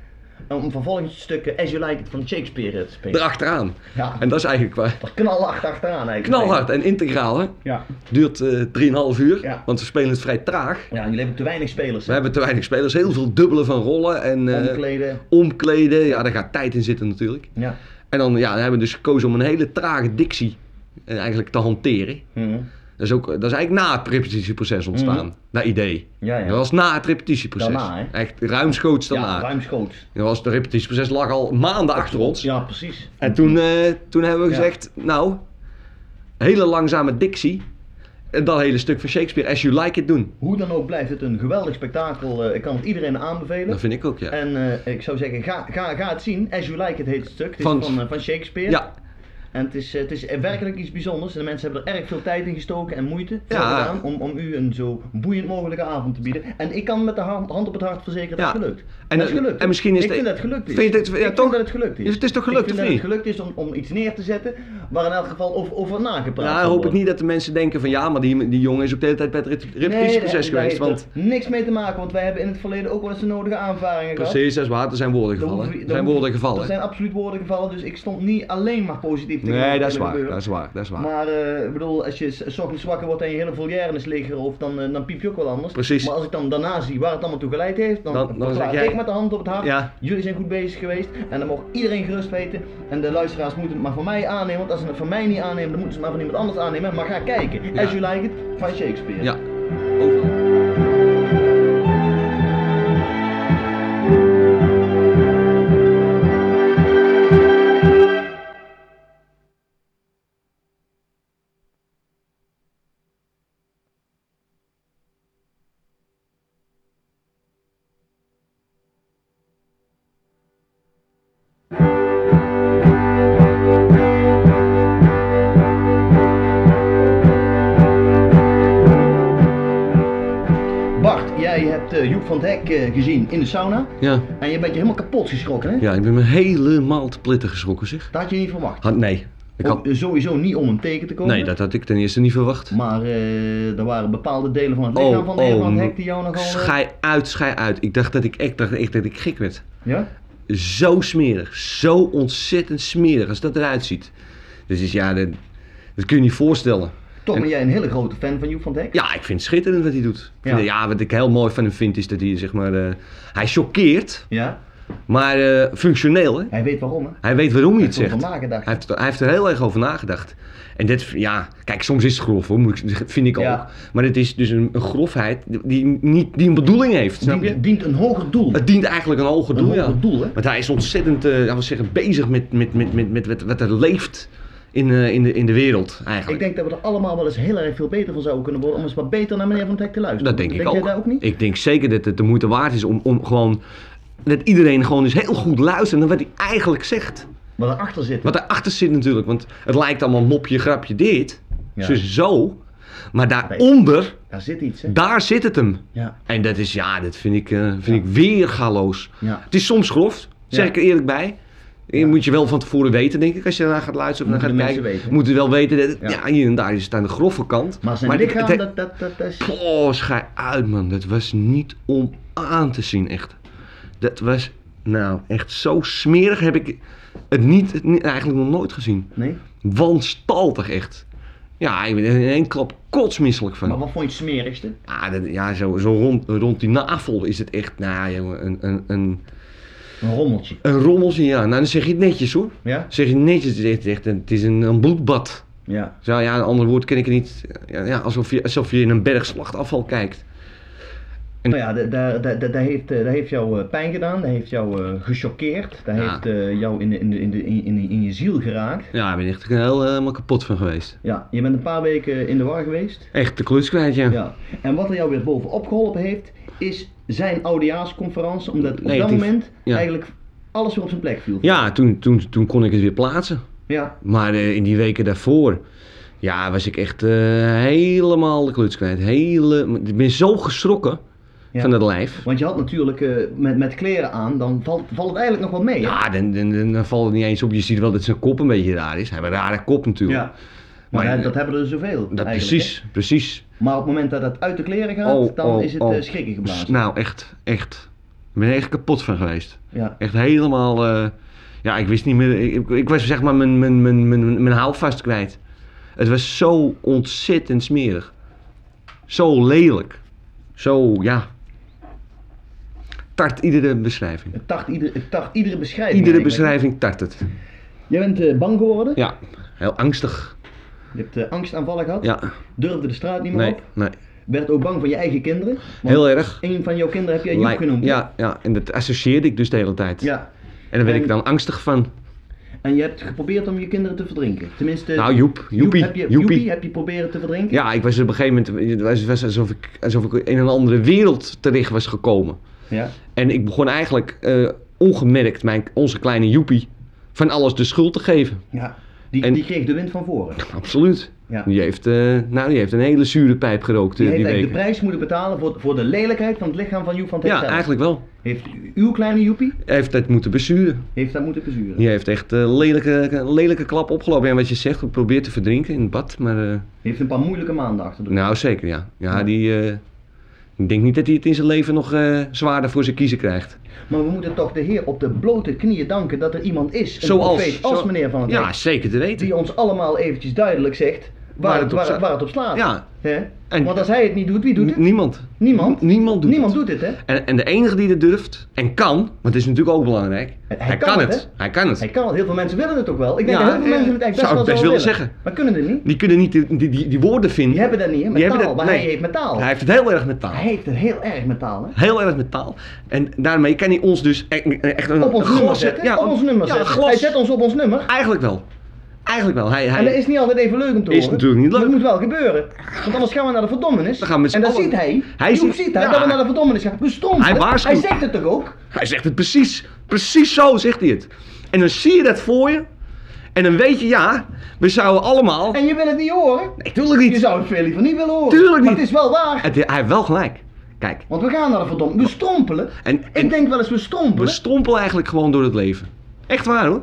B: Om vervolgens het stuk eh, As You Like It van Shakespeare eh, te spelen.
A: Erachteraan.
B: Ja,
A: En dat is eigenlijk waar.
B: dat knalhard achteraan eigenlijk.
A: Knalhard en integraal, hè.
B: Ja.
A: Duurt eh 3,5 uur,
B: Ja.
A: want we spelen het vrij traag.
B: ja, en jullie hebben te weinig spelers.
A: We hebben te weinig spelers, heel veel dubbelen van rollen en eh,
B: Omkleden.
A: omkleden. Ja, daar gaat tijd in zitten natuurlijk.
B: Ja.
A: En dan, ja, dan hebben we dus gekozen om een hele trage dictie eh, eigenlijk te hanteren.
B: Mhm.
A: Dat is, ook, dat is eigenlijk na het repetitieproces ontstaan, dat idee.
B: Ja, Mhm. ja.
A: Dat was na het repetitieproces.
B: Daarna, hè?
A: Echt ruimschoots daarna.
B: ja, ruimschoots.
A: Dat was, het repetitieproces lag al maanden achter ons.
B: Ja, precies.
A: En toen, eh, toen hebben we
B: Ja.
A: gezegd, nou, hele langzame dictie. En dat hele stuk van Shakespeare, As You Like It, doen.
B: Hoe dan ook blijft het een geweldig spektakel. eh, ik kan het iedereen aanbevelen.
A: Dat vind ik ook, ja.
B: Eh, En eh, ik zou zeggen, ga, ga, ga het zien. As You Like It heet het stuk. Het is
A: Van-
B: van, eh, van Shakespeare.
A: Ja.
B: En het is, eh, het is werkelijk iets bijzonders. En de mensen hebben er erg veel tijd in gestoken en moeite voor
A: Ja.
B: gedaan om, om u een zo boeiend mogelijke avond te bieden. En ik kan met de hand, hand op het hart verzekeren dat
A: Ja.
B: het gelukt.
A: En
B: dat is
A: het-
B: gelukt.
A: en misschien is
B: ik
A: het-
B: vind dat het gelukt is.
A: Vind je dit- ja,
B: ik
A: toch?
B: vind dat het gelukt
A: Ja,
B: is.
A: het is toch gelukt,
B: ik vind
A: of
B: dat
A: niet?
B: het gelukt is om, om iets neer te zetten waar in elk geval over, over nagepraat
A: Nou,
B: kan
A: hoop ik
B: worden.
A: niet dat de mensen denken van ja, maar die, die jongen is op de hele tijd bij het rit- repetitieproces
B: nee, daar
A: geweest.
B: heeft
A: Want
B: er niks mee te maken, want wij hebben in het verleden ook wel eens de nodige aanvaringen gehad.
A: precies, dat is waar, er zijn woorden
B: Er hoeven-
A: gevallen.
B: er
A: Er zijn
B: hoeven-
A: woorden
B: Er
A: gevallen.
B: zijn absoluut woorden gevallen, dus ik stond niet alleen maar positief te
A: Nee, dat is waar, dat is waar, dat is waar.
B: Maar eh, ik bedoel, als je s- s ochtends wakker wordt en je hele volière is leeggeroofd, dan, eh, dan piep je ook wel anders.
A: Precies.
B: Maar als ik dan daarna zie waar het allemaal toe geleid heeft, dan,
A: Dan- dan zeg
B: verklaar
A: jij-
B: ik met de hand op het hart,
A: Ja.
B: jullie zijn goed bezig geweest en dan mag iedereen gerust weten. En de luisteraars moeten het maar van mij aannemen, want als ze het van mij niet aannemen, dan moeten ze het maar van iemand anders aannemen. Maar ga kijken,
A: Ja.
B: As You Like It van Shakespeare.
A: Ja, overal.
B: Bart, jij hebt eh, Joep van het Hek eh, gezien in de sauna
A: Ja.
B: en je bent je helemaal kapot geschrokken hè?
A: ja, ik ben me helemaal te plitten geschrokken zeg.
B: Dat had je niet verwacht.
A: Had, nee, ik
B: Ook,
A: had,
B: eh, Sowieso niet om hem tegen te komen.
A: nee, dat had ik ten eerste niet verwacht.
B: Maar eh, er waren bepaalde delen van het
A: Oh,
B: lichaam van de heer van het
A: oh,
B: hek die jou nogal... eh,
A: Schij uit, schij uit. Ik dacht dat ik echt, dacht echt dat ik gek werd.
B: Ja?
A: Zo smerig, zo ontzettend smerig als dat eruit ziet. Dus is, ja, dat, dat kun je niet voorstellen.
B: Toch ben jij een hele grote fan van Joep van het Hek?
A: Ja, ik vind het schitterend wat hij doet. Ik
B: Ja.
A: vind- Ja. wat ik heel mooi van hem vind is dat hij, zeg maar, eh, hij choqueert,
B: Ja?
A: maar eh, functioneel hè.
B: Hij weet waarom hè?
A: Hij weet waarom hij het
B: heeft
A: zegt.
B: erover
A: Hij
B: nagedacht.
A: heeft, hij heeft er heel erg over nagedacht. En dit, ja, kijk, soms is het grof hoor, moet ik- vind ik
B: Ja.
A: ook. Maar het is dus een, een grofheid die, niet, die een bedoeling heeft, snap je?
B: Dient, dient een hoger doel.
A: Het dient eigenlijk een hoger
B: een
A: doel, ja.
B: hoger doel hè?
A: Want hij is ontzettend, eh laten we zeggen, bezig met, met, met, met, met, wat- wat er leeft in, eh, in, de, in de wereld eigenlijk.
B: Ik denk dat we er allemaal wel eens heel erg veel beter van zouden kunnen worden om eens wat beter naar meneer van het hek te luisteren.
A: dat denk, ik
B: jij
A: ook.
B: dat ook niet?
A: Ik denk zeker dat het de moeite waard is om, om gewoon, dat iedereen gewoon eens heel goed luistert naar wat hij eigenlijk zegt.
B: Wat erachter zit.
A: Wat daarachter zit natuurlijk, want het lijkt allemaal mopje, grapje dit,
B: Ja.
A: dus zo. Maar daaronder,
B: Daar zit iets hè?
A: daar zit het hem.
B: Ja.
A: En dat is, ja, dat vind ik, eh, vind ik weergaloos.
B: Ja.
A: Het is soms grof, zeg
B: Ja.
A: ik er eerlijk bij. Je Moet je wel van tevoren weten, denk ik, als je daarna gaat luisteren of naar
B: Moeten
A: gaat
B: de mensen
A: kijken.
B: weten.
A: Moeten wel weten dat, het-
B: Ja.
A: ja. hier en daar is het aan de grove kant.
B: Maar zijn
A: dit-
B: lichaam,
A: het-
B: dat, dat, dat, dat is...
A: Oh, schij uit man, dat was niet om aan te zien echt. Dat was, nou, echt zo smerig heb ik het niet, het niet- eigenlijk nog nooit gezien.
B: Nee?
A: Wanstaltig echt. Ja, ik ben er in één klap kotsmisselijk van.
B: Maar wat vond je het smerigste?
A: Ja, dat- ja zo, zo rond, rond die navel is het echt, nou jongen, een, een, een,
B: Een rommeltje.
A: een rommeltje, ja. Nou, dan zeg je het netjes hoor.
B: Ja?
A: Dan zeg je het netjes, het is echt, echt een- het is een, een bloedbad.
B: Ja.
A: Zo, ja, een ander woord ken ik er niet. Ja, ja, alsof, je, alsof je in een berg slachtafval kijkt.
B: Nou ja, da- da- da- da- daar heeft, eh, daar heeft jou eh, pijn gedaan, dat heeft jou eh, gechoqueerd, dat
A: Ja.
B: heeft eh, jou in, de- in, de- in, de- in, in, in je ziel geraakt.
A: Ja, ik ben echt heel, helemaal kapot van geweest.
B: Ja, je bent een paar weken in de war geweest.
A: Echt de kluts kwijt, ja.
B: Ja. En wat er jou weer bovenop geholpen heeft, is zijn oudejaarsconferentie, omdat op dat
A: Negatief,
B: moment
A: ja.
B: eigenlijk alles weer op zijn plek viel.
A: Ja, toen, toen, toen kon ik het weer plaatsen.
B: Ja,
A: Maar eh, in die weken daarvoor, ja, was ik echt eh, helemaal de kluts kwijt. Hele, ik ben zo geschrokken
B: Ja.
A: van dat lijf.
B: Want je had natuurlijk eh, met, met kleren aan, dan valt, valt het eigenlijk nog wel mee. hè?
A: Ja, dan, dan, dan, dan valt het niet eens op. Je ziet wel dat zijn kop een beetje raar is. Hij heeft een rare kop natuurlijk.
B: Ja. Maar,
A: Maar
B: dat-
A: je-
B: dat hebben er zoveel.
A: dat,
B: eigenlijk,
A: precies, precies.
B: hè. Maar op het moment dat dat uit de kleren gaat,
A: Oh,
B: dan
A: oh,
B: is het
A: oh.
B: eh, schrikken
A: S-
B: geblazen.
A: Nou, echt, echt. Ik ben er echt kapot van geweest.
B: Ja.
A: Echt helemaal, eh, ja, ik wist niet meer, ik, ik- ik was zeg maar mijn, mijn, mijn, mijn, mijn houvast kwijt. Het was zo ontzettend smerig. Zo lelijk. Zo, ja. Tart iedere beschrijving.
B: Het tart, ieder, het tart iedere beschrijving.
A: Iedere
B: eigenlijk, hè.
A: beschrijving tart het.
B: Jij bent eh, bang geworden,
A: Ja, heel angstig.
B: je hebt eh, angstaanvallen gehad,
A: Ja,
B: durfde de straat niet meer
A: nee,
B: op,
A: nee.
B: werd ook bang van je eigen kinderen. want
A: Heel erg.
B: Een van jouw kinderen heb jij Joep
A: Lijk-
B: genoemd. hè?
A: ja, ja, en dat associeerde ik dus de hele tijd.
B: ja.
A: En daar werd
B: En-
A: ik dan angstig van.
B: En je hebt geprobeerd om je kinderen te verdrinken. Tenminste,
A: Nou, Joep,
B: Joep
A: Joepie,
B: heb je,
A: Joepie.
B: Joepie heb je proberen te verdrinken.
A: Ja, ik was op een gegeven moment, het was- was alsof ik, alsof ik in een andere wereld terecht was gekomen.
B: Ja.
A: En ik begon eigenlijk eh, ongemerkt mijn, onze kleine Joepie van alles de schuld te geven.
B: Ja. Die,
A: En-
B: die kreeg de wind van voren.
A: Absoluut.
B: Ja.
A: Die, heeft, eh, nou, die heeft een hele zure pijp gerookt eh,
B: Die
A: die,
B: heeft eigenlijk
A: week.
B: de prijs moeten betalen voor, voor de lelijkheid van het lichaam van Joep van
A: ja,
B: Texel.
A: eigenlijk wel.
B: Heeft uw kleine Joepie
A: Hij heeft het moeten besturen.
B: heeft dat moeten bezuren.
A: Die heeft echt een lelijke, lelijke klap opgelopen. En wat je zegt, probeert te verdrinken in het bad. Maar eh,
B: Heeft een paar moeilijke maanden achter de rug.
A: nou, zeker ja. Ja,
B: Ja.
A: die... eh, ik denk niet dat hij het in zijn leven nog eh, zwaarder voor zijn kiezen krijgt.
B: Maar we moeten toch de Heer op de blote knieën danken dat er iemand is, een profeet als
A: zo-
B: meneer Van het
A: Ja,
B: Hek,
A: zeker te weten.
B: die ons allemaal eventjes duidelijk zegt waar,
A: Waar
B: het,
A: het op
B: waar,
A: staat.
B: het, waar het op slaat.
A: Ja,
B: Hè?
A: En-
B: Want als hij het niet doet, wie doet het?
A: n- niemand.
B: Niemand?
A: N- Niemand doet
B: Niemand
A: het.
B: doet het, hè?
A: En, en de enige die dat durft en kan, want het is natuurlijk ook belangrijk.
B: Hij kan het, hè?
A: Hij kan het.
B: Hij kan het, heel veel mensen willen het ook wel. Ik denk
A: Ja,
B: dat heel veel
A: eh,
B: mensen het eigenlijk
A: zou
B: best wel
A: ik best
B: zo
A: willen zeggen.
B: Maar kunnen het niet.
A: Die kunnen niet die, die, die, die woorden vinden.
B: Die hebben dat niet, hè, met
A: Die
B: taal.
A: hebben dat-
B: Maar hij
A: nee.
B: heeft met taal.
A: Hij heeft het heel erg met taal.
B: Hij heeft het heel erg met taal, hè?
A: Heel erg met taal. En daarmee kan hij ons dus e- e- echt een
B: Op ons
A: een
B: nummer
A: glas
B: zetten.
A: zetten. Ja,
B: op ons nummer
A: ja,
B: zetten.
A: glas.
B: Hij zet ons op ons nummer.
A: Eigenlijk wel. Eigenlijk wel. Hij, hij,
B: En dat is niet altijd even leuk om te
A: Is
B: horen.
A: natuurlijk niet leuk.
B: Dat moet wel gebeuren. Want anders gaan we naar de verdommenis.
A: Dan gaan we met z'n
B: en dan
A: allen-
B: ziet hij,
A: Hij
B: hij
A: ziet-
B: ziet, hij
A: ja.
B: dat we naar de verdommenis gaan. Bestond.
A: Hij waarschuwt.
B: Hij zegt het toch ook?
A: hij zegt het precies. Precies zo zegt hij het. En dan zie je dat voor je. En dan weet je, ja, we zouden allemaal...
B: En je wil het niet horen?
A: Nee, tuurlijk niet.
B: Je zou het veel liever niet willen horen.
A: Tuurlijk
B: Maar
A: niet.
B: het is wel waar.
A: Het- hij heeft wel gelijk. Kijk,
B: Want we gaan naar de verdommenis. We strompelen.
A: En- en-
B: Ik denk wel eens we strompelen.
A: we strompelen eigenlijk gewoon door het leven. Echt waar hoor.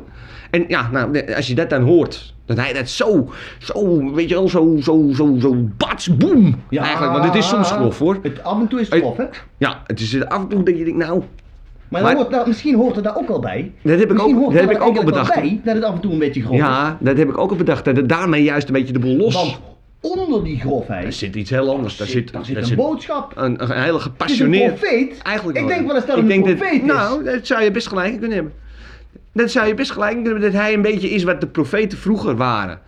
A: En ja, nou, als je dat dan hoort, dat hij dat zo, zo, weet je wel, zo, zo, zo, zo, bats, boem.
B: Ja.
A: Eigenlijk, want het is soms grof hoor.
B: Het, af en toe is het
A: Hey.
B: grof, hè?
A: Ja, het is af en toe dat je denkt, nou,
B: Maar,
A: Maar-
B: dan hoort, nou, misschien hoort het daar ook al bij.
A: dat heb ik
B: misschien
A: ook,
B: hoort
A: dat heb
B: daar
A: ik ook al
B: eigenlijk wel
A: bedacht.
B: bij dat het af en toe een beetje grof is.
A: Ja, dat heb ik ook al bedacht. Dat het daarmee juist een beetje de boel los.
B: Want onder die
A: daar
B: grofheid
A: zit iets heel anders. Daar zit,
B: daar
A: daar
B: zit een
A: zit
B: boodschap.
A: een, een hele
B: Het is een
A: gepassioneerd.
B: profeet.
A: Eigenlijk
B: ik
A: wel,
B: denk
A: ja.
B: wel eens dat
A: Ik
B: het een
A: denk
B: profeet is.
A: Nou, dat zou je best gelijk in kunnen hebben. Dat zou je best gelijk in kunnen hebben. Dat hij een beetje is wat de profeten vroeger waren.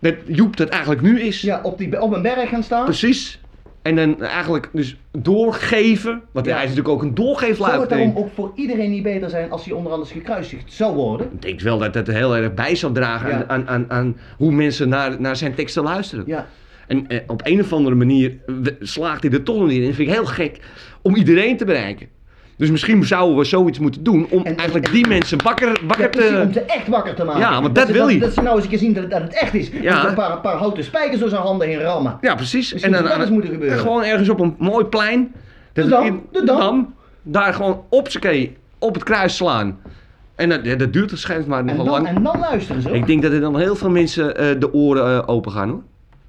A: Dat Joep dat eigenlijk nu is.
B: ja, op, die, op een berg gaan staan.
A: Precies. En dan eigenlijk dus doorgeven. Want
B: Ja.
A: hij is natuurlijk ook een
B: Zou
A: doorgeefluik.
B: het daarom
A: Ik
B: ook voor iedereen niet beter zijn als hij onder andere gekruisigd zou worden?
A: denk wel dat dat er heel erg bij zal dragen
B: Ja.
A: aan, aan, aan, aan hoe mensen naar, naar zijn teksten luisteren.
B: Ja.
A: En eh, op een of andere manier eh, we- slaagt hij er toch nog niet in. Dat vind ik heel gek om iedereen te bereiken. Dus misschien zouden we zoiets moeten doen om
B: En-
A: eigenlijk
B: en-
A: die mensen wakker,
B: Ja,
A: wakker
B: precies, om
A: te...
B: ze echt wakker te maken.
A: eh, Ja, want dat
B: ze-
A: wil hij.
B: Dat ze nou eens een keer zien dat, dat het echt is.
A: Ja.
B: Dat ze een paar, een paar houten spijkers door zijn handen heen rammen.
A: Ja, precies.
B: Misschien zou dat eens moeten gebeuren.
A: en gewoon ergens op een mooi plein. dat-
B: Dam,
A: in-
B: de Dam.
A: Daar gewoon op z'n kee op het kruis slaan. En dat, ja, dat duurt waarschijnlijk maar
B: En
A: nogal
B: dan,
A: lang.
B: en dan luisteren ze.
A: Ik denk dat er dan heel veel mensen eh, de oren eh, open gaan hoor.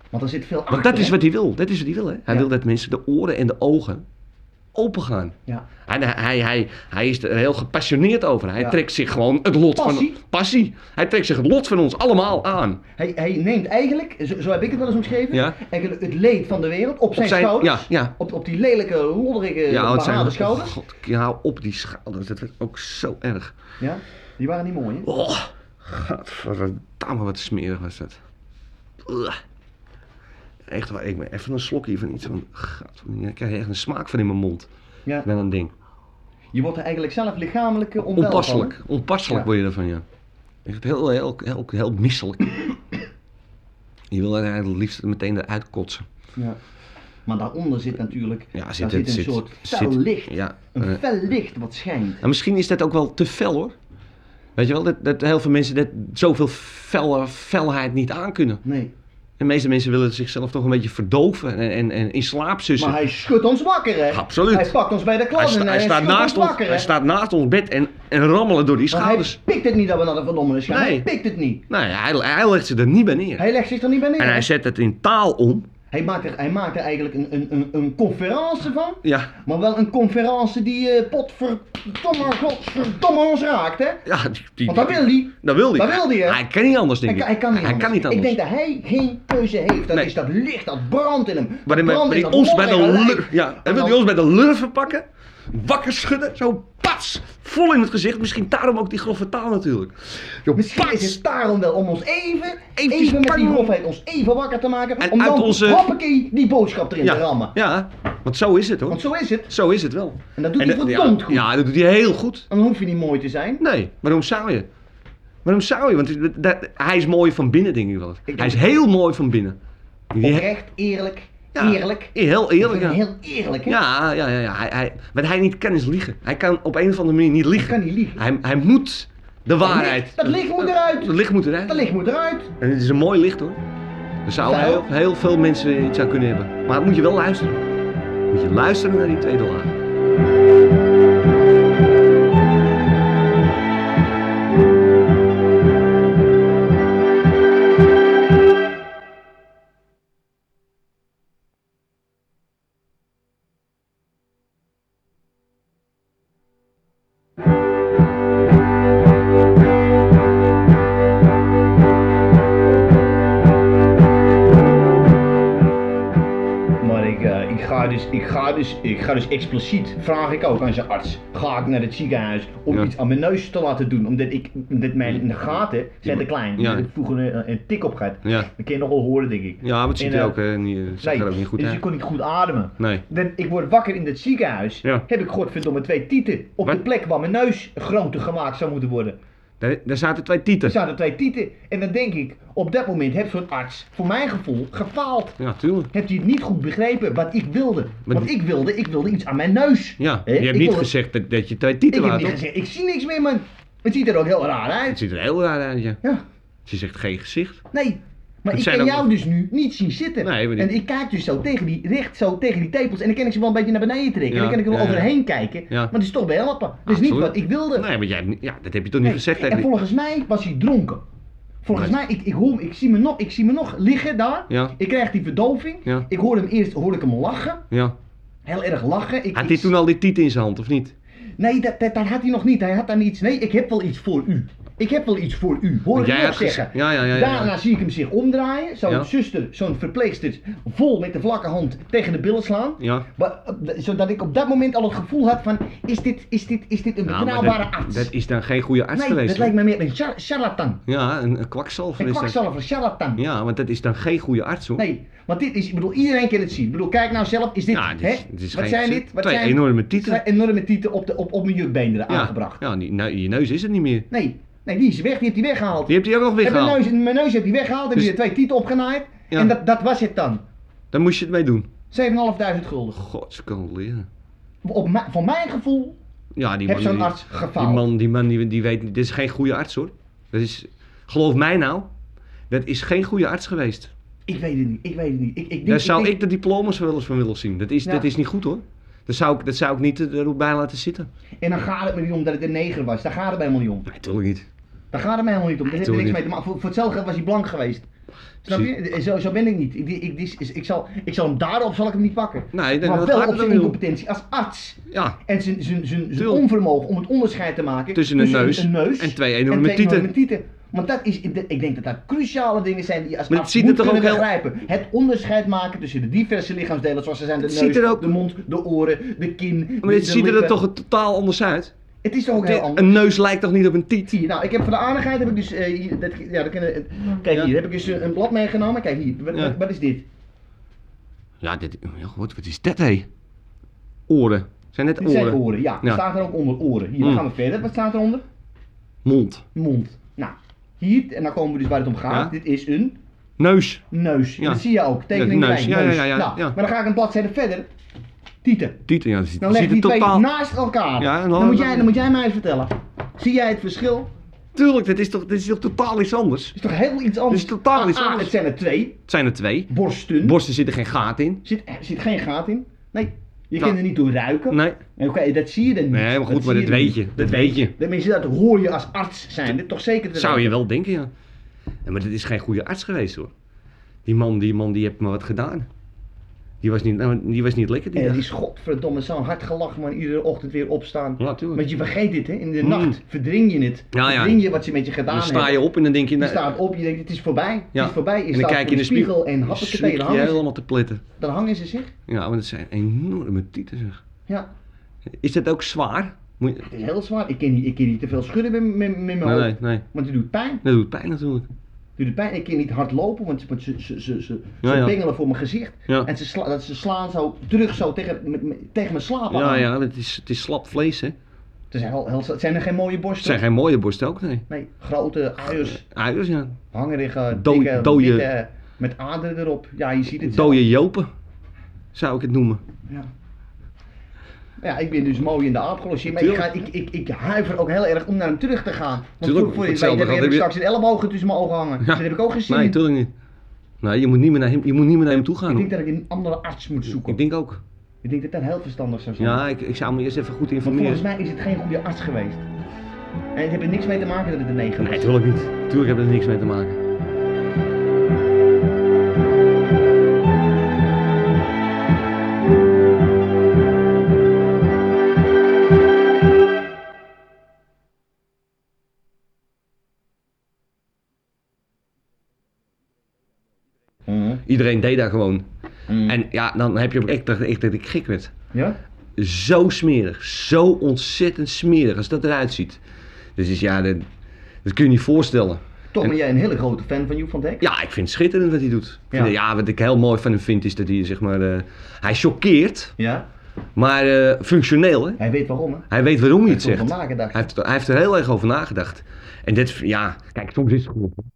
B: Want er zit veel achter.
A: Want dat is
B: hè?
A: wat hij wil. Dat is wat hij wil hè. Hij
B: Ja.
A: wil dat mensen de oren en de ogen open gaan.
B: Ja.
A: En hij, hij, hij, hij is er heel gepassioneerd over. Hij
B: Ja.
A: trekt zich gewoon het lot
B: Passie.
A: van... Passie. Hij trekt zich het lot van ons allemaal aan.
B: Hij, hij neemt eigenlijk, zo, zo heb ik het wel eens omschreven,
A: Ja.
B: eigenlijk het leed van de wereld op zijn,
A: zijn-
B: schouders.
A: ja, ja.
B: Op, op die lelijke, lodderige,
A: oh,
B: behaalde
A: het zijn-
B: schouders.
A: God, ja, hou op die schouders. Dat werd ook zo erg.
B: Ja, die waren niet mooi. Hè?
A: Oh, gadverdamme, wat smerig was dat. Ugh. Echt waar, ik ben even een slokje van iets. Want, gadverdamme, ik krijg echt een smaak van in mijn mond.
B: Ja.
A: Met een ding.
B: Je wordt er eigenlijk zelf lichamelijk eh, onwel van, hè?
A: Onpasselijk. Onpasselijk
B: Ja.
A: word je daarvan, ja. Echt heel, heel, heel, heel misselijk. je wil er eigenlijk het liefst meteen eruit kotsen.
B: Ja. Maar daaronder zit natuurlijk
A: Ja, zit
B: daar
A: het,
B: zit een
A: zit-
B: soort
A: zit-
B: fel licht.
A: Ja. eh.
B: Een fel licht wat schijnt.
A: En misschien is dat ook wel te fel hoor. Weet je wel, dat, dat heel veel mensen dat zoveel felle, felheid niet aankunnen.
B: Nee.
A: De meeste mensen willen zichzelf toch een beetje verdoven en, en, en in slaap sussen.
B: Maar hij schudt ons wakker, hè?
A: Absoluut.
B: Hij pakt ons bij de
A: Hij
B: klas
A: sta-
B: en
A: hij staat,
B: schudt
A: naast
B: ons
A: ons,
B: wakker,
A: hij
B: hè?
A: staat naast ons bed en, en rammelen door die
B: Maar hij
A: schouders.
B: pikt het niet dat we naar de verdommenis gaan.
A: Nee.
B: Hij pikt het niet.
A: Nee, hij, hij legt ze er niet bij neer.
B: Hij legt zich er niet bij neer.
A: En hij
B: hè?
A: zet het in taal om.
B: Hij maakt er, hij maakt er eigenlijk een, een, een, een conferentie van.
A: Ja,
B: Maar wel een conferentie die eh, potverdomme, godverdomme ons raakt, hè?
A: ja die, die-
B: Want dat wil hij.
A: Dat wil hij.
B: Dat wil hij, hè?
A: Hij kan niet anders, denk
B: Hij
A: ik.
B: kan, hij kan niet
A: hij kan
B: anders.
A: niet anders.
B: Ik denk dat hij geen keuze heeft. Dat
A: Nee.
B: is dat licht, dat brandt in hem. Dat
A: Waarin
B: brandt
A: hij
B: in dat
A: ons bij de
B: modderige
A: lur-
B: lijf.
A: ja, hij
B: En
A: wil
B: dan-
A: die ons bij de lurven pakken, wakker schudden, zo pats, vol in het gezicht. Misschien daarom ook die grove taal natuurlijk. Zo
B: Misschien
A: pats.
B: is het daarom wel om ons even,
A: Eventjes
B: even met die
A: bang.
B: grofheid, ons even wakker te maken.
A: En
B: om
A: uit
B: dan
A: onze-
B: hoppakee, die boodschap erin te
A: ja,
B: rammen.
A: ja, want zo is het hoor.
B: Want zo is het.
A: Zo is het wel.
B: En dat doet hij
A: dat-
B: verdomd
A: ja,
B: goed.
A: Ja, dat doet hij heel goed.
B: En dan hoef je niet mooi te zijn.
A: Nee, waarom zou je? Waarom zou je? Want het- dat- hij is mooi van binnen, denk ik wel.
B: denk
A: hij is
B: het.
A: heel mooi van binnen. Die-
B: Oprecht, eerlijk,
A: ja,
B: eerlijk.
A: Heel eerlijk,
B: Ik
A: ja.
B: vind hem Heel eerlijk, hè?
A: Ja, ja, ja. ja. Hij, hij, wat hij niet kan is liegen. Hij kan op een of andere manier niet liegen.
B: kan niet liegen.
A: Hij, hij moet De waarheid.
B: Dat licht moet eruit.
A: Het licht moet eruit.
B: Dat licht moet eruit.
A: En het is een mooi licht hoor. Er zouden
B: Zou-
A: heel, heel veel mensen iets aan kunnen hebben. Maar moet je wel luisteren. Moet je luisteren naar die tweede laag.
B: Maar ik, eh, ik, ga dus, ik, ga dus, ik ga dus expliciet, vraag ik ook aan zijn arts, ga ik naar het ziekenhuis om
A: Ja.
B: iets aan mijn neus te laten doen. Omdat, ik, omdat mijn gaten zijn te klein.
A: Ja.
B: Als ik vroeger een, een tik op gaat,
A: Ja.
B: dan kun je nogal horen denk ik.
A: Ja, maar het ziet
B: En,
A: er
B: eh,
A: ook, eh, niet, het ziet
B: Nee,
A: er ook niet goed
B: dus
A: uit.
B: ik kon niet goed ademen.
A: Nee.
B: Dan, ik word wakker in het ziekenhuis,
A: Ja.
B: heb ik godverdomme twee tieten op
A: Wat?
B: de plek waar mijn neus groter gemaakt zou moeten worden.
A: Daar, daar zaten twee
B: Er
A: tieten.
B: zaten twee tieten en dan denk ik, op dat moment heeft zo'n arts, voor mijn gevoel, gefaald.
A: Ja, tuurlijk.
B: Hebt hij het niet goed begrepen wat ik wilde? Want
A: die-
B: ik wilde, ik wilde iets aan mijn neus.
A: Ja,
B: Hè?
A: je hebt
B: Ik
A: niet
B: wilde-
A: gezegd dat, dat je twee tieten
B: Ik heb
A: waren,
B: niet
A: toch?
B: gezegd, ik zie niks meer man. Het ziet er ook heel raar
A: Het
B: uit.
A: ziet er heel raar uit, ja.
B: Ja,
A: Ze zegt geen gezicht.
B: nee. Maar
A: Het
B: ik
A: zijn
B: kan
A: ook-
B: jou dus nu niet zien zitten.
A: Nee, maar die-
B: En ik kijk dus zo tegen die, recht zo tegen die tepels. En dan kan ik ze wel een beetje naar beneden trekken.
A: Ja,
B: En dan kan ik er wel
A: ja, ja.
B: overheen kijken.
A: Ja.
B: Maar het is toch helpen. Dat is niet
A: Absoluut.
B: wat ik wilde.
A: Nee, maar jij, hebt niet- ja, dat heb je toch niet
B: Nee,
A: gezegd
B: en
A: tegen die-
B: volgens mij was hij dronken. Volgens mij, ik, ik, hoor, ik, zie me nog, ik zie me nog liggen daar.
A: Ja.
B: Ik krijg die verdoving.
A: Ja.
B: Ik hoorde hem eerst hoorde ik hem lachen.
A: Ja.
B: Heel erg lachen. Ik,
A: Had
B: ik-
A: hij toen al die tieten in zijn hand, of niet?
B: Nee, dat, dat, dat had hij nog niet. Hij had dan iets. Nee, ik heb wel iets voor u. Ik heb wel iets voor u. Hoor
A: Want
B: ik
A: jij
B: hem nog
A: had gezegd-
B: zeggen.
A: Ja, ja, ja, ja, ja.
B: Daarna zie ik hem zich omdraaien. Zo'n
A: Ja.
B: zuster, zo'n verpleegster, vol met de vlakke hand tegen de billen slaan.
A: Ja.
B: Maar, eh, zodat ik op dat moment al het gevoel had van, is dit, is dit, is dit een
A: Nou, maar
B: betrouwbare
A: dat,
B: arts?
A: dat is dan geen goede arts
B: nee,
A: geweest.
B: dat
A: hoor.
B: lijkt me meer een char- charlatan.
A: Ja, een, een kwakzalver
B: Een
A: is dat.
B: kwakzalver, charlatan.
A: Ja, want dat is dan geen goede arts hoor.
B: Nee, want dit is, ik bedoel, iedereen kan het zien. Ik bedoel, kijk nou zelf, is dit,
A: Ja, dit
B: hè?
A: is- dit is
B: wat
A: geen
B: zijn
A: gezicht.
B: dit? Wat
A: Twee
B: zijn
A: enorme tieten.
B: Twee enorme tieten op, de, op, op mijn jukbeenderen
A: ja.
B: aangebracht.
A: Ja, die, nou, je neus is er niet meer.
B: Nee, nee, die is weg, die heeft hij weggehaald.
A: Die hebt hij ook nog
B: En mijn,
A: weggehaald.
B: neus, mijn neus heeft hij weggehaald, heb
A: Dus-
B: je er twee tieten opgenaaid.
A: Ja.
B: En dat, dat was het dan.
A: Daar moest je het mee doen.
B: 7.500 gulden.
A: God, ze kan wel leren.
B: Op mijn- voor mijn gevoel
A: Ja, die
B: heeft
A: man,
B: zo'n
A: die,
B: arts
A: die
B: gefaald.
A: man, die man, die, die weet niet. Dit is geen goede arts hoor. Dat is, geloof mij nou, dat is geen goede arts geweest.
B: Ik weet het niet, ik weet het niet. Ik, ik denk,
A: Daar zou
B: denk-
A: ik de diplomas wel eens van willen zien. Dat is,
B: Ja.
A: dat is niet goed hoor. Dat zou ik, dat zou ik niet er- erop bij laten zitten.
B: En dan gaat het me niet om dat het een neger was. Daar gaat het mij helemaal niet om.
A: Nee, natuurlijk niet.
B: Daar gaat het mij helemaal niet om. Daar heeft er
A: Doe
B: niks
A: niet.
B: mee te maken. Voor, voor hetzelfde geld was hij blank geweest. Snap je? Zo, zo ben ik niet. Ik, ik, ik, ik, zal, ik zal hem daarop zal ik hem niet pakken.
A: Nee, dat-
B: maar
A: dat
B: wel
A: gaat
B: op
A: het
B: zijn
A: ook niet om.
B: incompetentie als arts.
A: Ja,
B: En zijn, zijn, zijn, zijn
A: Tuurlijk.
B: onvermogen om het onderscheid te maken
A: Tussen een neus en twee enorme tieten.
B: Want dat is, ik denk dat dat cruciale dingen zijn die je als
A: Maar het
B: arts
A: ziet
B: moet
A: er toch
B: kunnen
A: ook heel-
B: begrijpen. Het onderscheid maken tussen de diverse lichaamsdelen zoals ze zijn. De
A: Het
B: neus,
A: ziet er ook-
B: de mond, de oren, de kin,
A: maar
B: de,
A: dit
B: de
A: ziet er
B: lippen.
A: toch totaal anders uit?
B: Het is toch ook heel anders.
A: Een neus lijkt toch niet op een tiet?
B: Zie je, nou, ik heb voor de aardigheid heb ik dus. eh, hier, dat, ja, dat kunnen, het- kijk
A: Ja.
B: hier, heb ik dus eh, een blad meegenomen. Kijk hier, wat,
A: Ja.
B: wat- wat is dit?
A: Ja, dit, ja, goed, wat is dat hé? Oren. Zijn dit
B: Dit zijn
A: oren?
B: oren, ja.
A: Ja.
B: Staat er ook onder oren. Hier, dan
A: Mm.
B: gaan we verder. Wat staat eronder?
A: Mond.
B: Mond. Nou, hier, en dan komen we dus waar het om gaat.
A: Ja.
B: Dit is een
A: Neus.
B: neus.
A: Ja.
B: Dat zie je ook. Tekening
A: Ja, neus.
B: klein,
A: Ja, ja,
B: neus.
A: ja, ja,
B: Nou,
A: ja.
B: Maar dan ga ik een bladzijde verder. Tieten.
A: Tieten, ja, dat ziet,
B: Dan
A: ziet
B: leg je
A: er
B: die twee
A: totaal...
B: naast elkaar.
A: Ja, en dan-
B: dan, moet jij, dan moet jij mij eens vertellen. Zie jij het verschil? Het
A: Tuurlijk, dat is, toch, dat is toch totaal iets anders?
B: is toch heel iets anders?
A: Het is totaal iets
B: Ah, ah,
A: anders.
B: Het zijn er twee.
A: Het zijn er twee.
B: Borsten.
A: Borsten zitten geen gaten in.
B: Zit, er zit geen gat in. Nee. Je
A: Nou.
B: kan er niet door ruiken.
A: Nee.
B: Oké, dat zie je dan niet.
A: Nee, maar goed, maar dat
B: zie dan
A: weet
B: niet.
A: je. Dat weet je.
B: Dat, mensen, dat hoor je als arts zijn. Dit toch zeker te
A: Zou je
B: weten.
A: wel denken, ja. Ja, Maar dit is geen goede arts geweest hoor. Die man, die man, die heeft me wat gedaan. Die was niet, nou, die was niet lekker die
B: En
A: dag.
B: die is godverdomme zo'n hard gelach, man. Iedere ochtend weer opstaan.
A: Ja, tuurlijk.
B: Want je vergeet dit, hè. In de
A: Mm.
B: nacht verdring je het.
A: Ja, ja.
B: Verdring je wat ze met je gedaan
A: Dan sta je
B: hebben.
A: op en dan denk je...
B: Je
A: nou,
B: staat op, je denkt, het is voorbij.
A: Ja.
B: Het is voorbij. Je
A: en dan
B: staat
A: kijk je
B: voor
A: in de spiegel,
B: en
A: dan
B: happakee,
A: zwiep
B: dan,
A: je
B: hangen ze-
A: helemaal te plitten.
B: dan hangen ze zich.
A: Ja, want het zijn enorme tieten zeg.
B: Ja,
A: Is dat ook zwaar? Moet je...
B: het is heel zwaar. Ik kan niet, ik kan niet te veel schudden met, met, met mijn
A: Nee,
B: hoofd.
A: nee, nee.
B: Want het doet pijn.
A: Dat doet pijn natuurlijk.
B: doet het pijn. Ik kan niet hard lopen, want ze, want ze, ze, ze, ze,
A: Ja,
B: ze
A: ja.
B: bengelen voor mijn gezicht.
A: Ja.
B: En ze, sla, dat ze slaan zo terug zo tegen, met- met- tegen mijn slaap aan.
A: Ja, ja, het is, het is slap vlees hè.
B: Het is heel, heel, het zijn er geen mooie borsten.
A: Het zijn geen mooie borsten ook, nee.
B: Nee, grote uiers,
A: Uiers, ja.
B: hangerige,
A: Dooi-
B: dikke,
A: dooie-
B: witte, met aderen erop. Ja, je ziet het zelf.
A: Dode jopen, zou ik het noemen.
B: Ja. Ja, ik ben dus mooi in de aap gelost. hier, Maar ik, ga, ik, ik, ik huiver ook heel erg om naar hem terug te gaan. Want
A: Tuurlijk,
B: voor je het weet
A: hetzelfde
B: heb
A: gehad
B: ik
A: heb je-
B: straks een ellebogen tussen mijn ogen hangen. Dus Dat heb ik ook gezien.
A: Nee, tuurlijk niet. Nee, je moet niet meer naar hem, je moet niet meer naar hem toe gaan.
B: ik denk
A: hoor.
B: dat ik een andere arts moet zoeken.
A: Ik denk ook.
B: Ik denk dat dat heel verstandig zou zijn.
A: Ja, ik, ik zou me eerst even goed
B: Want volgens
A: informeren.
B: mij is het geen goede arts geweest. En het heeft er niks mee te maken dat het een 9 was.
A: Nee, tuurlijk niet. Tuurlijk heb ik er niks mee te maken.
B: Mhm.
A: Iedereen deed daar gewoon.
B: Mhm.
A: En ja, dan heb je op echt dat echt dat ik gek werd.
B: Ja?
A: Zo smerig. Zo ontzettend smerig als dat eruit ziet. Dus is, ja, dat, dat kun je niet voorstellen.
B: Toch
A: En-
B: ben jij een hele grote fan van Joep van Dijk?
A: Ja, ik vind het schitterend wat hij doet. Ik vind-
B: Ja.
A: Ja. wat ik heel mooi van hem vind is dat hij, zeg maar, eh, hij choqueert,
B: Ja?
A: maar eh, functioneel hè.
B: Hij weet waarom hè?
A: Hij weet waarom hij het
B: heeft
A: zegt.
B: erover nagedacht.
A: Hij heeft, hij heeft er heel erg over nagedacht. En dit, ja, kijk, soms is het gewoon.